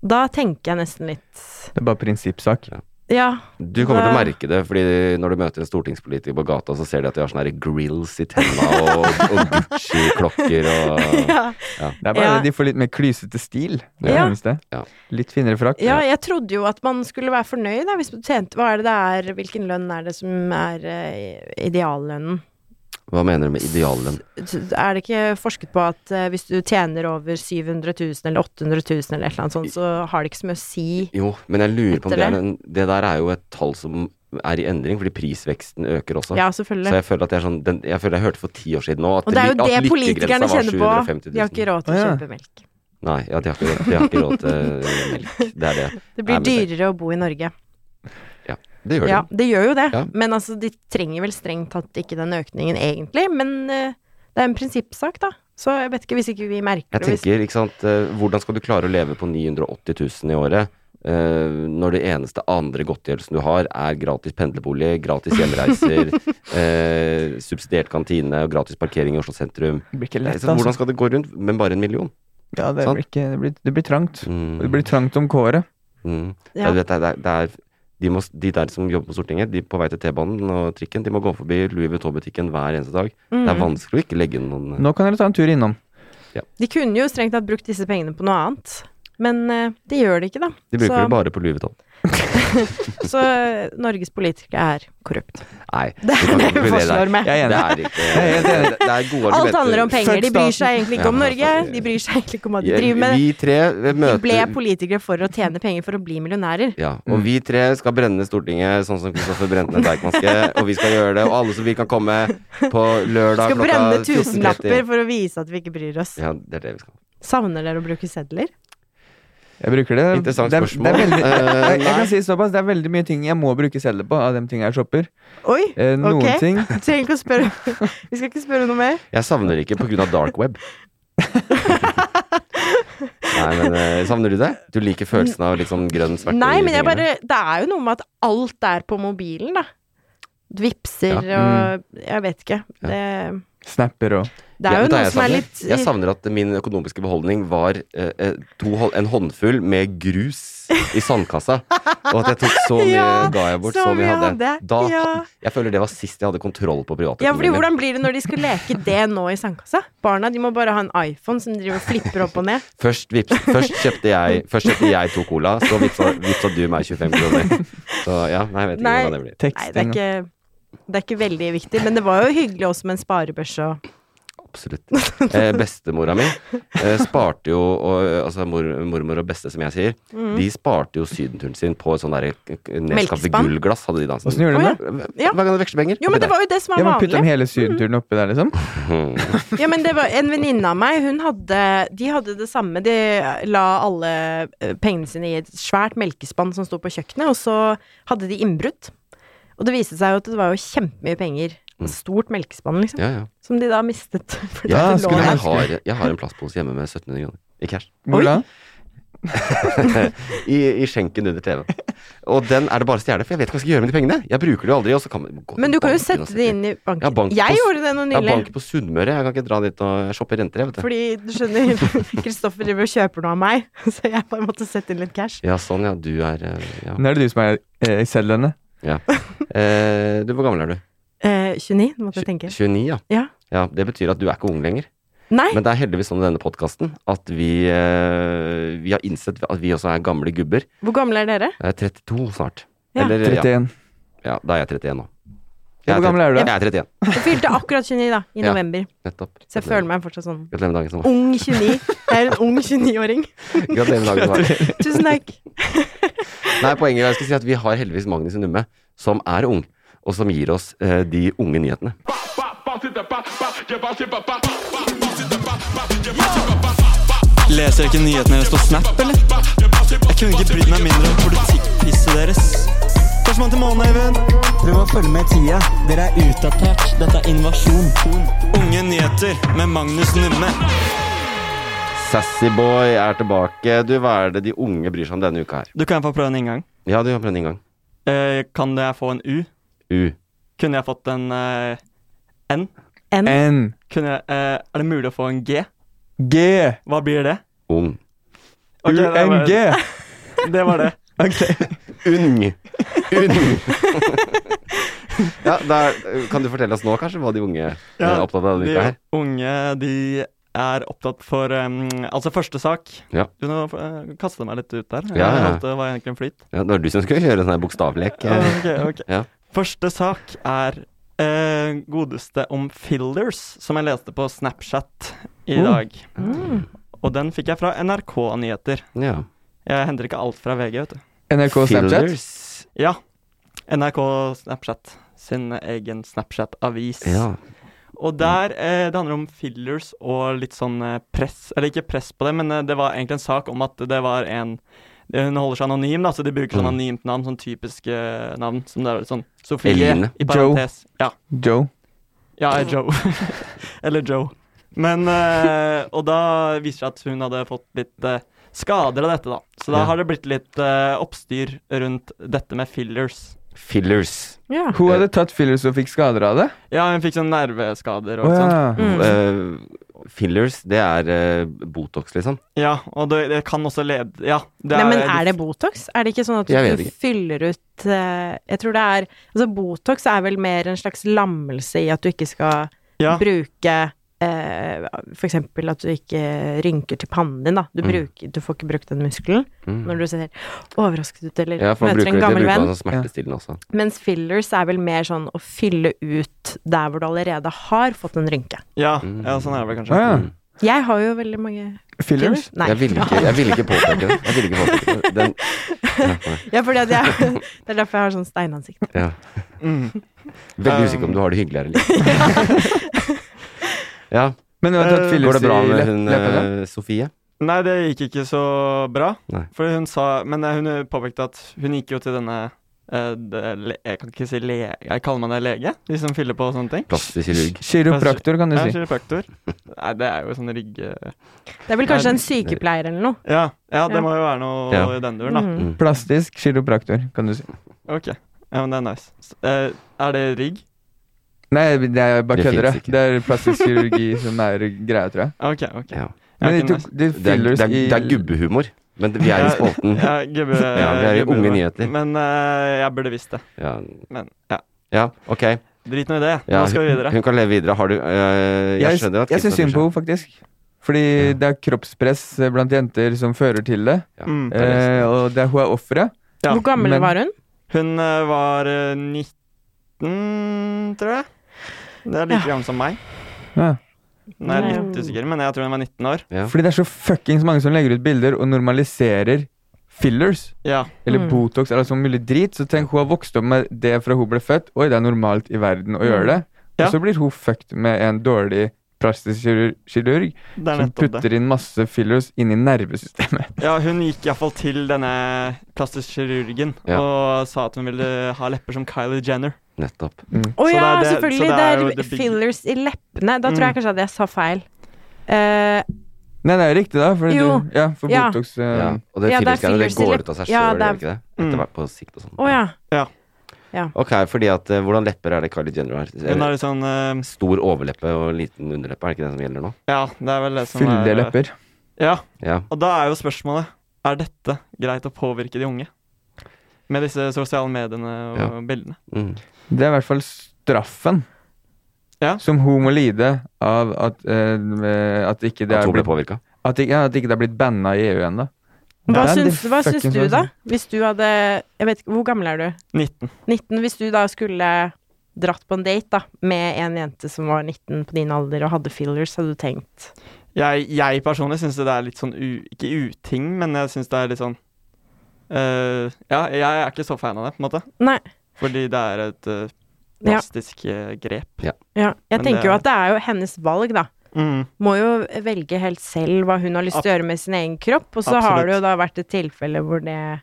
Da tenker jeg nesten litt
Det er bare prinsippsak.
Ja.
Du kommer til å
Hva-
merke det, fordi når du møter en stortingspolitiker på gata, så ser de at de har sånne her grills i tenna og, og Gucci-klokker og
ja.
Det er bare
Ja.
det, de får litt mer klysete stil. Det er
Ja.
det eneste.
Ja.
Litt finere frakk.
Ja, jeg trodde jo at man skulle være fornøyd da, hvis du tjente Hva er det det er Hvilken lønn er det som er eh, ideallønnen?
Hva mener du med ideallønn?
Er det ikke forsket på at eh, hvis du tjener over 700 000 eller 800 000 eller et eller annet sånt, så har det ikke så mye å si?
Jo, men jeg lurer på om
Etter
det, er
det?
en, det der er jo et tall som er i endring, fordi prisveksten øker også.
Ja,
Så
selvfølgelig.
jeg føler at jeg, er sånn, den, jeg, føler jeg hørte for ti år siden nå at,
Og det er jo
ly- at
det politikerne
lykkegrensa var
kjenner på.
750 000.
De har ikke råd til å
Å, ja.
kjøpe melk.
Nei, ja, de har ikke, de har ikke råd til melk. Det er det.
Det
Nei,
blir
men
dyrere å bo i Norge.
Det gjør de.
Ja, det gjør jo det.
Ja.
Men altså, de trenger vel strengt tatt ikke den økningen egentlig, men eh, det er en prinsippsak, da. Så jeg vet ikke, hvis ikke vi merker
Jeg
det hvis-
tenker, ikke sant, eh, hvordan skal du klare å leve på 980 000 i året? eh, når det eneste andre godtgjørelsen du har, er gratis pendlerbolig, gratis hjemreiser, eh, subsidiert kantine og gratis parkering i Oslo sentrum.
Det blir ikke
Nei,
lett,
så hvordan
altså.
skal det gå rundt med bare en million?
Ja, det,
Sant?
blir ikke, det, blir, det blir trangt.
Mm.
Og Det blir trangt om kåret.
Mm.
Ja.
Ja. du vet, det er, det er- det er, de, må, de der som jobber på Stortinget, de på vei til T-banen og trikken, de må gå forbi Louis Vuitton-butikken hver eneste dag.
Mm.
Det er vanskelig å ikke legge inn noen eh,
Nå kan dere ta en tur innom.
De kunne jo strengt tatt brukt disse pengene på noe annet, men eh, de gjør det ikke, da.
De bruker
så,
det bare på Louis Vuitton.
så eh, Norges politikere er korrupt.
Nei.
Det er det vi fastslår med.
Jeg er
Det
enig.
er ikke det er, det er gode
Alt handler om penger. De bryr
Fuck
seg egentlig ikke om
Ja,
Norge.
fuck-
De bryr seg egentlig ikke om at de driver med det.
Vi tre
De
møter
ble politikere for å tjene penger for å bli millionærer.
Ja, og vi tre skal brenne Stortinget sånn som Kristoffer brente ned Deichmanske. og vi skal gjøre det, og alle som vil kan komme på lørdag
Skal brenne
14.30.
tusenlapper for å vise at vi ikke bryr oss.
Ja, det er det vi skal.
Savner dere å bruke sedler?
Jeg bruker det.
Interessant
det er,
spørsmål.
Det er veldig,
Eh,
jeg, jeg
nei.
kan si såpass, det er veldig mye ting jeg må bruke sedler på av de tingene jeg shopper.
Oi!
Eh, noen
ok.
ting
Du trenger ikke å spørre. Vi skal ikke spørre noe mer.
Jeg savner det ikke pga. dark web. Nei, men eh, Savner du det? Du liker følelsen av litt sånn grønn smerte?
Nei,
i
men jeg bare
fingrene?
Det er jo noe med at alt er på mobilen, da. Vipser
Ja. Mm.
og Jeg vet ikke. Det,
snapper og
det er
Vet
jo
du hva
noe
jeg
som er
savner?
litt
Jeg savner at min økonomiske beholdning var eh, eh, to, hol- en håndfull med grus i sandkassa. Og at jeg tok så mye
Ja,
ga jeg bort, så, mye hadde jeg. Da,
ja.
Jeg føler det var sist jeg hadde kontroll på
Ja, fordi
privatøkonomien. min.
Hvordan blir det når de skal leke det nå i sandkassa? Barna de må bare ha en iPhone som driver og flipper opp og ned.
Først, vips, først, kjøpte jeg, først kjøpte jeg to cola, så vipsa, vipsa du meg 25 kroner. Så ja, nei, jeg vet ikke
Nei.
hvordan det blir.
Nei, det er
teksting. og-
ikke, det er ikke veldig viktig, men det var jo hyggelig også med en sparebørse og
Absolutt. Eh, bestemora mi eh, sparte jo, og, altså mor, mormor og beste, som jeg sier,
Mm.
de sparte jo sydenturen sin på et sånn derre nedskaffet
Melkespann?
gullglass, hadde de da.
Åssen gjør du det?
Ja.
Hver gang du veksler penger.
Jo, men det var jo det som
Jeg
var
må putte
vanlig.
dem hele sydenturen oppi der, liksom.
Mm.
Ja, men det var En venninne av meg, hun hadde De hadde det samme. De la alle eh, pengene sine i et svært melkespann som sto på kjøkkenet, og så hadde de innbrudd. Og det viste seg jo at det var jo kjempemye penger. Et Stort melkespann, liksom.
Mm. Ja, ja.
Som de da mistet. fordi
Ja,
det lå
skulle
der.
jeg, har, jeg har en plastpose hjemme med 1700 kroner i cash.
Hvor da?
I, I skjenken under TV. Og den er det bare å stjele, for jeg vet ikke hva jeg skal gjøre med de pengene. Jeg bruker det jo aldri. Og så kan man gå til
Men du kan jo
banken og
sette det inn i banken.
Ja, bank
jeg
på s-
gjorde det nå
Jeg har
nylig.
bank på Sunnmøre, jeg kan ikke dra dit og shoppe renter, jeg, vet du.
Fordi du skjønner, Kristoffer driver og kjøper noe av meg, så jeg bare måtte sette inn litt cash.
Ja, sånn, ja. Du er eh, Ja.
Nå er det du som er eh, i sedlene.
ja. Eh, du, hvor gammel er du?
Eh, 29, nå måtte jeg tenke.
29, ja.
Ja.
Det betyr at du er ikke ung lenger.
Nei,
Men det er heldigvis sånn i denne podkasten at vi, eh, vi har innsett at vi også er gamle gubber.
hvor gamle er dere?
Jeg er 32 snart.
Ja.
Eller, ja,
31.
ja, da er jeg 31 nå.
Ja, hvor gammel er du da?
Jeg er 31.
Jeg fylte akkurat 29 da, i
Ja.
november,
Nettopp.
så jeg føler meg fortsatt sånn
Gratulerer med dagen som var.
ung 29. Jeg er en ung 29-åring.
Gratulerer med dagen som var.
Tusen takk.
Nei, poenget er jeg skal si at vi har heldigvis Magnus i Numme, som er ung, og som gir oss eh, de unge nyhetene.
Leser jeg ikke nyhetene deres på Snap, eller? Jeg kunne ikke brydd meg mindre om politikkpisset deres. Førstemann til månen, Eivind. Prøv å følge med i tida. Dere er utdatert. Dette er invasjon. Unge nyheter med Magnus Numme.
Sassyboy er tilbake. Du, hva er det de unge bryr seg om denne uka her?
Du kan jeg få prøve en inngang.
Ja, du har prøvd en gang.
Eh, kan jeg få en U?
U.
Kunne jeg fått en eh, N?
N.
Kunne jeg, eh, er det mulig å få en G?
G!
Hva blir det?
Ung.
Ok, det var-
UNG!
Det var det.
Ung. Ung. ja, der, kan du fortelle oss nå kanskje hva de unge
Ja,
er opptatt av denne uka
De
her?
unge, de er opptatt for em, Altså, første sak
Ja.
Du nå eh, kastet meg litt ut der.
Ja, ja, ja.
Alt, eh, var egentlig en flyt.
Ja, det var du som skulle kjøre sånn her bokstavlek.
Ja, ok, ok.
Ja.
Første sak er eh, godeste om fillers, som jeg leste på Snapchat i
Mm.
dag. Og den fikk jeg fra NRK Nyheter.
ja.
Jeg henter ikke alt fra VG, vet du.
NRK Snapchat.
Fillers.
Ja. NRK Snapchat sin egen Snapchat-avis.
Ja.
Og der, eh, det handler om fillers og litt sånn eh, press, eller ikke press på det, men eh, det var egentlig en sak om at det var en det- Hun holder seg anonym, da, så de bruker
Mm.
sånn anonymt navn, sånn typiske navn, som det er sånn Sofie
Eline.
i
Joe.
parentes. Ja.
Joe.
Ja, er Joe. Eller Joe. Men eh, Og da viser det seg at hun hadde fått litt eh, skader av dette, da. Så da
Ja.
har det blitt litt eh, oppstyr rundt dette med fillers.
Fillers.
Ja.
Hun hadde tatt fillers og fikk skader av det?
Ja, hun fikk sånn nerveskader
Å
og sånn.
ja.
Mm.
Eh, fillers, det er eh, Botox, liksom.
Ja, og det, det kan også lede Ja. det
Nei, men er det Botox? Er det ikke sånn at
Jeg vet
du
ikke.
fyller ut eh, Jeg tror det er Altså, Botox er vel mer en slags lammelse i at du ikke skal
Ja.
bruke eh, For eksempel at du ikke rynker til pannen din, da. Du,
Mm.
bruker, du får ikke brukt den muskelen når du ser overrasket ut eller
Ja, for man
møter
bruker
en
det, det
gammel
bruker
venn.
man som smertestillende også.
Mens fillers er vel mer sånn å fylle ut der hvor du allerede har fått en rynke.
Ja,
Mm.
ja, sånn er det vel kanskje.
Å ja.
Jeg har jo veldig mange
Fillers?
Ah, Nei.
Jeg ville ikke, jeg ville ikke påpeke det. Jeg ville ikke påpeke det. Den, ja, nei,
Ja, fordi at jeg, det er derfor jeg har sånn steinansikt.
ja.
Mm.
Veldig usikker
Um.
om du har det hyggelig her eller ikke. Ja.
Men hun har tatt
Eh,
fillers
Går det bra
i
med
lepp-
hun
leppene?
eh, Sofie?
Nei, det gikk ikke så bra.
Nei.
For hun sa Men eh, hun påpekte at hun gikk jo til denne eh, det- le- Jeg kan ikke si lege Jeg kaller meg det lege, de som fyller på og sånne ting.
Plastisk kirurg.
Kiropraktor, kan du
Ja,
si.
kiropraktor. Nei, det er jo sånn rygge...
Det er vel kanskje en sykepleier eller noe.
Ja, ja, det
Ja.
må jo være noe
Ja.
i den duren, da.
Mm.
Plastisk kiropraktor, kan du si.
Ok. Ja, men det er nice. S- eh, er det rigg?
Nei, det er bare
Det
kødder.
finnes
jeg.
ikke.
Det er plastisk kirurgi som er greia, tror jeg.
Ok, ok.
Ja.
Men de
ok,
tok de
Det, er,
fillers
det, er, det er
i
gubbehumor, men vi er i
Ja.
spalten.
nice. Ja, gubbe,
Ja, vi er i
gubbe-
Unge Nyheter.
Men eh, jeg burde visst det.
Ja.
Men ja,
ja, ok.
drit nå i det.
Ja,
Nå skal vi videre.
Hun kan leve videre. Har du eh, Jeg
Jeg,
skjønner jo at
jeg syns
Kristina
synd på henne, faktisk. Fordi det er kroppspress blant jenter som fører til det.
Ja,
Mm.
det er
Eh,
det.
og det er, hun er offeret.
Ja,
Hvor gammel
men-
var hun?
Hun eh, var eh, 19, tror jeg. Det er like gammel som meg.
Ja.
Nå er jeg
Nei.
litt usikker, men jeg tror hun var 19 år.
Ja.
Fordi det er så fuckings mange som legger ut bilder og normaliserer fillers.
Ja.
Eller
Mm.
Botox eller sånn mulig drit. Så tenk, hun har vokst opp med det fra hun ble født. Oi, det er normalt i verden å gjøre det.
Mm. Ja.
Og så blir hun fucked med en dårlig plastisk kirur- kirurg
Det er
som
nettopp det.
putter inn masse fillers inn i nervesystemet.
Ja, hun gikk iallfall til denne plastikkirurgen
Ja.
og sa at hun ville ha lepper som Kylie Jenner.
Nettopp.
Mm.
Å
Så det
ja,
er det- Mm.
selvfølgelig.
så
Det er,
jo the big-
fillers i leppene. Da tror jeg kanskje at jeg sa feil. Eh,
Nei, det er riktig, da. For,
Jo.
du, ja, for
Ja.
Botox eh,
Ja. Og det
Ja, det er
fillersgreiene, det
fillers i
går
lepp-
ut av seg
Ja,
sjøl, gjør
det er-
det ikke det?
Mm.
Etter hvert på sikt og sånn.
Å ja.
Ok, fordi at eh, hvordan lepper er det Kylie Jenner har? Er
Hun
det
har litt sånn eh,
Stor overleppe og liten underleppe, er det ikke det som gjelder nå?
Ja, det er vel det som
Fyldige
er eh,
lepper.
Ja,
Ja.
og da er jo spørsmålet Er dette greit å påvirke de unge? Med disse sosiale mediene og
Ja.
bildene.
Mm.
Det er i hvert fall straffen
Ja.
som hun må lide av at, eh, at ikke det
At
er
hun ble
blitt,
påvirka.
at ikke, ja, at ikke det er blitt banna i EU ennå.
Hva
Det er
syns,
det
hva syns
fucking
du, da?
sånn.
Hvis du hadde Jeg vet ikke, hvor gammel er du?
19.
19. Hvis du da skulle dratt på en date da med en jente som var 19 på din alder og hadde fillers, hadde du tenkt
Jeg, jeg personlig syns det er litt sånn u, Ikke uting, men jeg syns det er litt sånn eh, Ja, jeg er ikke så fan av det, på en måte.
Nei.
Fordi det er et eh,
Ja.
plastisk eh, grep.
Ja.
Men
Jeg
det
tenker jo
er-
at det er jo hennes valg, da.
Mm.
Må jo velge helt selv hva hun har lyst til å gjøre med sin egen kropp, og så har
Absolutt.
det jo da vært et tilfelle hvor det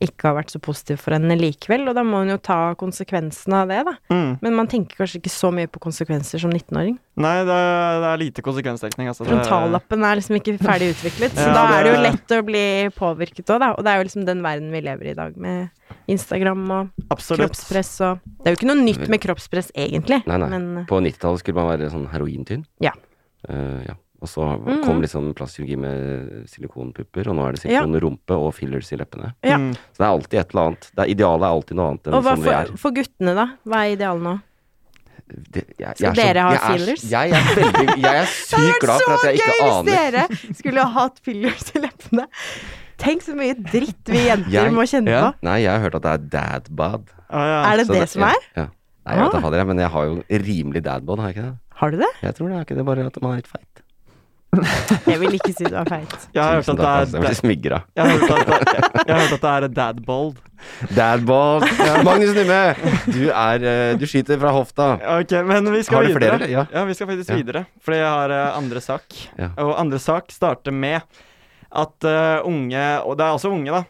ikke har vært så positiv for henne likevel, og da må hun jo ta konsekvensene av det, da.
Mm.
Men man tenker kanskje ikke så mye på konsekvenser som 19-åring.
Nei, det er, det er lite konsekvensdekning. Altså. Det-
Frontallappen er liksom ikke ferdig utviklet, så
Ja,
da er det jo
det-
lett å bli påvirket òg, da. Og det er jo liksom den verden vi lever i i dag, med Instagram og
Absolutt.
kroppspress og Det er jo ikke noe nytt med kroppspress, egentlig,
Nei, nei.
men eh,
På 90-tallet skulle man være sånn herointynn.
Ja.
Eh, ja. Og så
Mhm.
kom liksom plastkirurgi med silikonpupper, og nå er det
Ja.
silikonrumpe og fillers i leppene.
Ja.
Mm.
Så det er alltid et eller annet. Det er, idealet er alltid noe annet enn
Og hva
sånn vi er.
for, for guttene, da? Hva er idealet nå?
Det, jeg, jeg
Skal
er
dere ha
jeg er-
fillers?
Jeg er, veldig, jeg er
Det hadde
sykt
vært
glad for
så
at jeg ikke
gøy
aner
hvis dere skulle ha hatt fillers i leppene. Tenk så mye dritt vi jenter
Jeg-
må kjenne
Ja.
på.
Nei, jeg har hørt at det er dad bod.
Ja, ja.
Er det det, som er?
Ja. ja. Nei, jeg vet
Ah.
da fader, jeg, men jeg har jo rimelig dad bod, har jeg ikke det?
Har du det?
Jeg tror det er ikke det, bare at man er litt feit.
Jeg vil ikke si du er feit.
Jeg har hørt
Tusen takk,
at
altså.
det
Jeg
er
blir smigra.
Jeg har hørt at det, jeg har hørt at det er dad bold.
Dad bod! Magnus Numme, du er eh, Du skyter fra hofta.
Ok, men vi skal
Har du
videre.
flere, eller? Ja.
vi skal faktisk
Ja.
videre, fordi jeg har eh, andre sak.
Ja.
Og andre sak starter med at eh, unge, og det er også unge, da.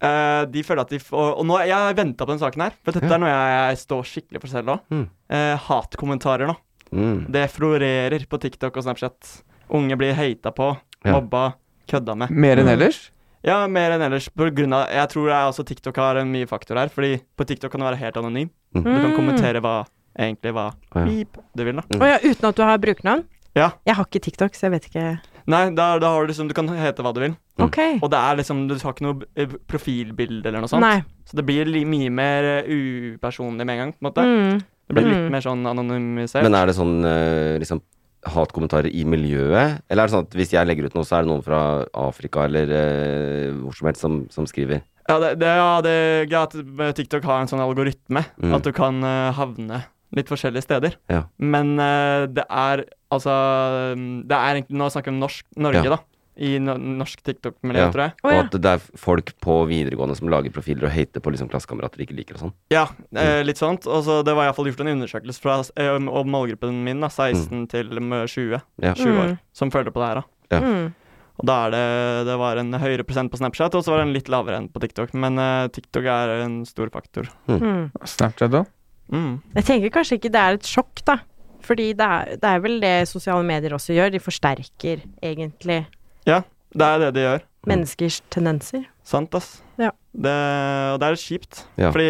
eh, de føler at de får Og nå, jeg har venta på den saken her, for dette
Ja.
er noe jeg, jeg står skikkelig for selv nå.
Mm.
Eh, hatkommentarer nå.
Mm.
Det florerer på TikTok og Snapchat. Unge blir hata på,
Ja.
mobba, kødda med.
Mer
Mm.
enn ellers?
Ja, mer enn ellers. På grunn av, jeg tror det er også TikTok har en mye faktor her. Fordi på TikTok kan du være helt anonym.
Mm.
Du kan kommentere hva egentlig hva
Ja.
pip du vil, da.
Å ja, uten at du har brukernavn?
Ja.
Jeg har ikke TikTok, så jeg vet ikke
Nei, da, da har du liksom Du kan hete hva du vil.
Mm.
Ok.
Og det er liksom Du har ikke noe eh, profilbilde eller noe sånt.
Nei.
Så det blir li, mye mer eh, upersonlig med en gang, på en måte.
Mm.
Det blir litt
Mm.
mer sånn anonymisert.
Men er det sånn eh, liksom hatkommentarer i miljøet? Eller er det sånn at hvis jeg legger ut noe, så er det noen fra Afrika eller eh, hvor som helst som, som skriver?
Ja, det, det, ja, det er greit at TikTok har en sånn algoritme
Mm.
at du kan eh, havne litt forskjellige steder.
Ja.
Men eh, det er altså mm, Det er egentlig Nå snakker vi om norsk Norge,
Ja.
da. I no, norsk TikTok-miljø,
Ja.
tror jeg.
Å
Og
ja.
at det er folk på videregående som lager profiler og hater på liksom klassekamerater de ikke liker og sånn.
Ja, eh, litt sånt. Og så det var iallfall gjort en undersøkelse fra eh, om målgruppen min, da, 16 til mm, 20,
Ja.
20 år, som følte på det her. da.
Ja.
Mm.
Og da er det, det var en høyere prosent på Snapchat, og så var det en litt lavere enn på TikTok. Men eh, TikTok er en stor faktor.
Mm.
Snapchat da?
Mm.
Jeg tenker kanskje ikke det er et sjokk, da. Fordi det er, det er vel det sosiale medier også gjør. De forsterker egentlig
Ja, det er det de gjør.
menneskers tendenser.
Sant, ass.
Ja.
Det, og det er litt kjipt.
Ja.
Fordi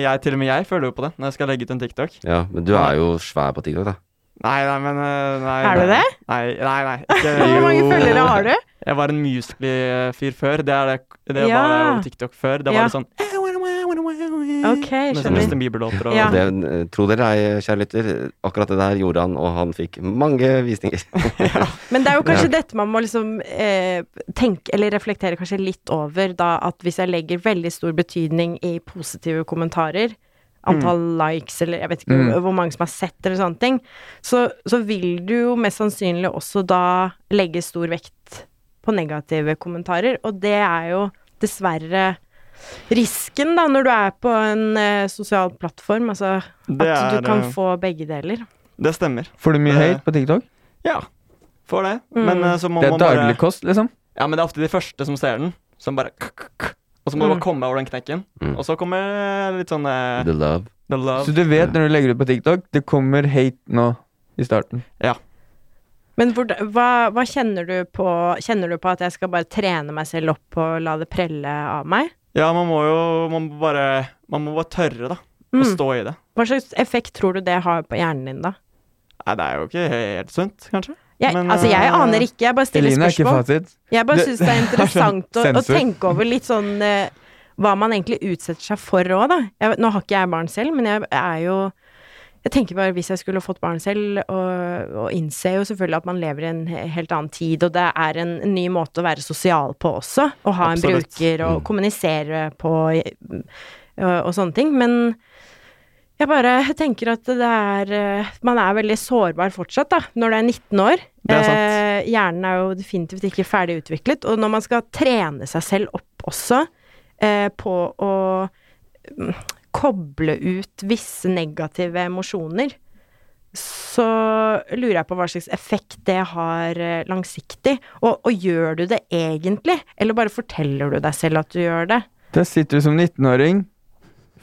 jeg, til og med jeg føler jo på det når jeg skal legge ut en TikTok.
Ja, men du er jo svær på TikTok, da.
Nei, nei, men eh, nei,
Er du
nei.
det?
Nei, nei. nei. Ikke,
Hvor mange
Jo.
følgere har du?
Jeg var en Musely-fyr før. Det, er det, det
Ja.
var jeg på TikTok før. Det var
Ja.
litt sånn
Ok,
Med sånn
skjønner.
Justin Bieber-låter og
Ja.
Det, eh, tro dere ei, kjære lytter, akkurat det der gjorde han, og han fikk mange visninger.
Men det er jo kanskje dette man må liksom eh, tenke, eller reflektere kanskje litt over, da at hvis jeg legger veldig stor betydning i positive kommentarer, antall
Mm.
likes eller jeg vet ikke
Mm.
hvor mange som har sett eller sånne ting, så, så vil du jo mest sannsynlig også da legge stor vekt på negative kommentarer, og det er jo dessverre risken da når du er på en eh, sosial plattform, altså at
Det er,
du kan
eh,
få begge deler.
Det stemmer.
Får du mye
Det-
hate på TikTok?
Eh, Ja. Får det.
Mm.
Men eh, så må
Det er
man bare
daglig kost, liksom?
Ja, men det er ofte de første som ser den, som bare k -k -k. Og så må du
Mm.
bare komme over den knekken.
Mm.
Og så kommer eh, litt sånn eh,
The love.
the love.
Så du vet når du legger ut på TikTok, det kommer hate nå i starten.
Men hvor, hva, hva kjenner du på Kjenner du på at jeg skal bare trene meg selv opp og la det prelle av meg?
Ja, man må jo man må bare Man må bare tørre, da. Å
Mm.
stå i det.
Hva slags effekt tror du det har på hjernen din, da?
Nei, det er jo ikke helt sunt, kanskje.
Jeg,
Men,
altså, jeg
eh,
aner ikke, jeg bare stiller
Eline er ikke
spørsmål.
fasit.
Jeg bare
Det-
syns det er interessant å, å
Sensor.
tenke over litt sånn eh, hva man egentlig utsetter seg for òg, da. Jeg, nå har ikke jeg barn selv, men jeg er jo Jeg tenker bare hvis jeg skulle fått barn selv, og, og innser jo selvfølgelig at man lever i en he- helt annen tid, og det er en ny måte å være sosial på også. Å ha en
Absolutt.
bruker
Mm.
og kommunisere på eh, og, og sånne ting. Men jeg bare tenker at det er eh, Man er veldig sårbar fortsatt, da, når du er 19 år.
Det er sant.
Eh, hjernen er jo definitivt ikke ferdig utviklet. Og når man skal trene seg selv opp også eh, på å mm, koble ut visse negative emosjoner, så lurer jeg på hva slags effekt det har eh, langsiktig. Og, og gjør du det egentlig, eller bare forteller du deg selv at du gjør det?
Det Der sitter du som 19-åring,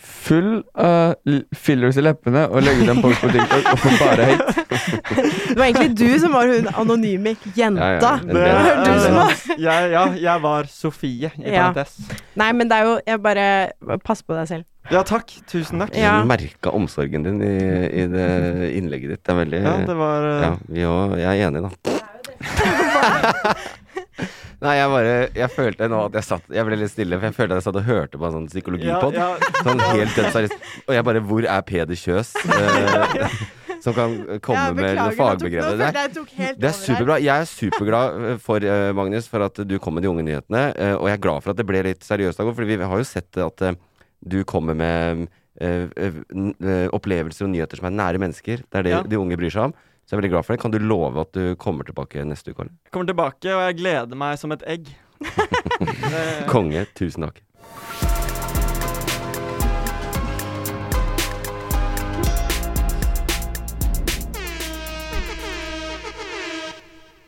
full av l- fillers i leppene, og legger den post på TikTok og får bare hate.
Det var egentlig du som var hun anonyme jenta.
Det var
du som var
jeg, ja, jeg var Sofie i
Ja.
parentes.
Nei, men det er jo Jeg bare Pass på deg selv.
Ja takk, tusen takk.
Ja.
Jeg merka omsorgen din i, i det innlegget ditt. Det er veldig
Ja, det var eh,
Ja, vi òg. Jeg er enig, da. Nei, jeg bare Jeg følte nå at jeg satt Jeg ble litt stille, for jeg følte at jeg satt og hørte på en sånn psykologipod.
Ja, ja.
Sånn helt dødt seriøst. Og jeg bare Hvor er Peder Kjøs? Eh, som kan komme med fagbegrepet der. Det er superbra. Jeg er superglad eh, for eh, Magnus for at du kom med de unge nyhetene. eh, Og jeg er glad for at det ble litt seriøst, Dago, for vi har jo sett at eh, du kommer med eh, eh, n- eh, opplevelser og nyheter som er nære mennesker. Det er det
Ja.
de unge bryr seg om. Så jeg er veldig glad for det. Kan du love at du kommer tilbake neste uke? Arne?
Jeg kommer tilbake, og jeg gleder meg som et egg. Det-
Konge, tusen takk.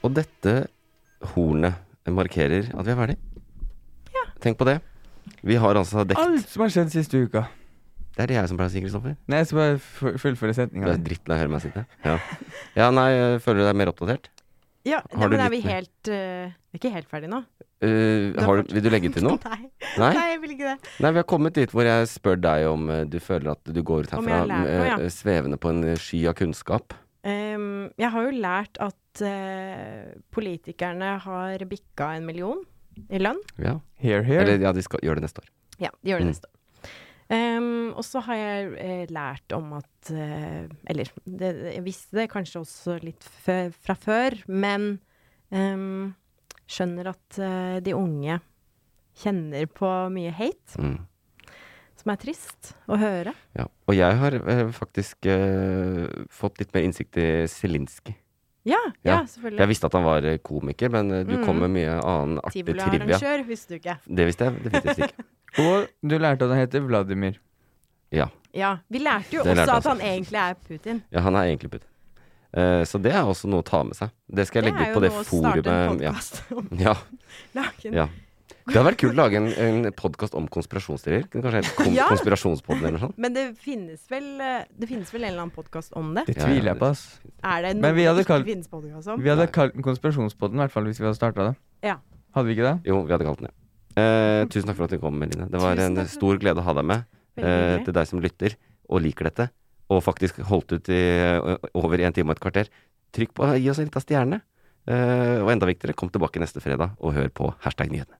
Og dette hornet markerer at vi er ferdig. Tenk på det. Vi har altså dekt
Alt som har skjedd siste uka.
Det er det jeg som pleier å si, Kristoffer.
Nei, jeg skal bare fu-
Du
fullføre
er
setninga.
drittlei av å høre meg sitte. Ja. ja, nei, føler du deg mer oppdatert?
Ja,
Har
nei,
du
men er vi
litt mer?
helt eh, Vi er ikke helt ferdig nå.
Eh,
Du har
har,
fortsatt-
vil du legge til noe?
Nei.
Nei?
Nei, jeg vil ikke det.
Nei, vi har kommet dit hvor jeg spør deg om eh, du føler at du går ut
Om jeg har
herfra
lært noe, ja.
eh, svevende på en eh, sky av kunnskap.
Ehm, jeg har jo lært at eh, politikerne har bikka en million i lønn.
Ja.
Here, here.
Eller ja, de skal gjøre det neste år.
Ja, de gjør det
Mm.
neste år. Ehm, og så har jeg eh, lært om at eh, Eller det, jeg visste det kanskje også litt fø- fra før, men ehm, skjønner at eh, de unge kjenner på mye hate,
Mm.
som er trist å høre.
Ja. Og jeg har eh, faktisk eh, fått litt mer innsikt i Zelinskyj.
Ja, ja,
Ja, Jeg
selvfølgelig.
visste at han var eh, komiker, men eh,
Mm.
du kom med mye annen artig trivia.
Tivoliarrangør visste du ikke.
Det visste jeg definitivt ikke.
Og du lærte at han heter Vladimir.
Ja.
Ja, Vi lærte jo
Det
også
lærte jeg
at han egentlig er Putin.
ja, han er egentlig putt. Eh, så det er også noe å ta med seg. Det skal jeg
Det
legge
er
ut
jo
på det
noe å starte en
forumet. Ja.
podkast om.
Ja,
Laken.
ja. Det hadde vært kult å lage en, en podkast om konspirasjonsteorier. Kunne Kanskje helt kom
Ja.
Konspirasjonspodden eller noe sånt.
Men det finnes vel eh, Det finnes vel en eller annen podkast om det?
Det
Ja, ja,
tviler jeg på, ass.
Er det
Men
noe
vi hadde
det ikke
kalt-
finnes podkast om?
Vi hadde kalt den Konspirasjonspodden, i hvert fall hvis vi hadde starta det.
Ja. Mm.
Hadde vi ikke det?
Jo, vi hadde kalt den det. Eh, tusen takk for at du kom, Eline. Det var
Tusen
en
takk for-
stor glede å ha deg med.
Veldig
Eh,
hyggelig.
til deg som lytter og liker dette, og faktisk holdt ut i eh, over en time og et kvarter. Trykk på Gi oss en liten stjerne. Eh, og enda viktigere, kom tilbake neste fredag og hør på hashtag nyhetene.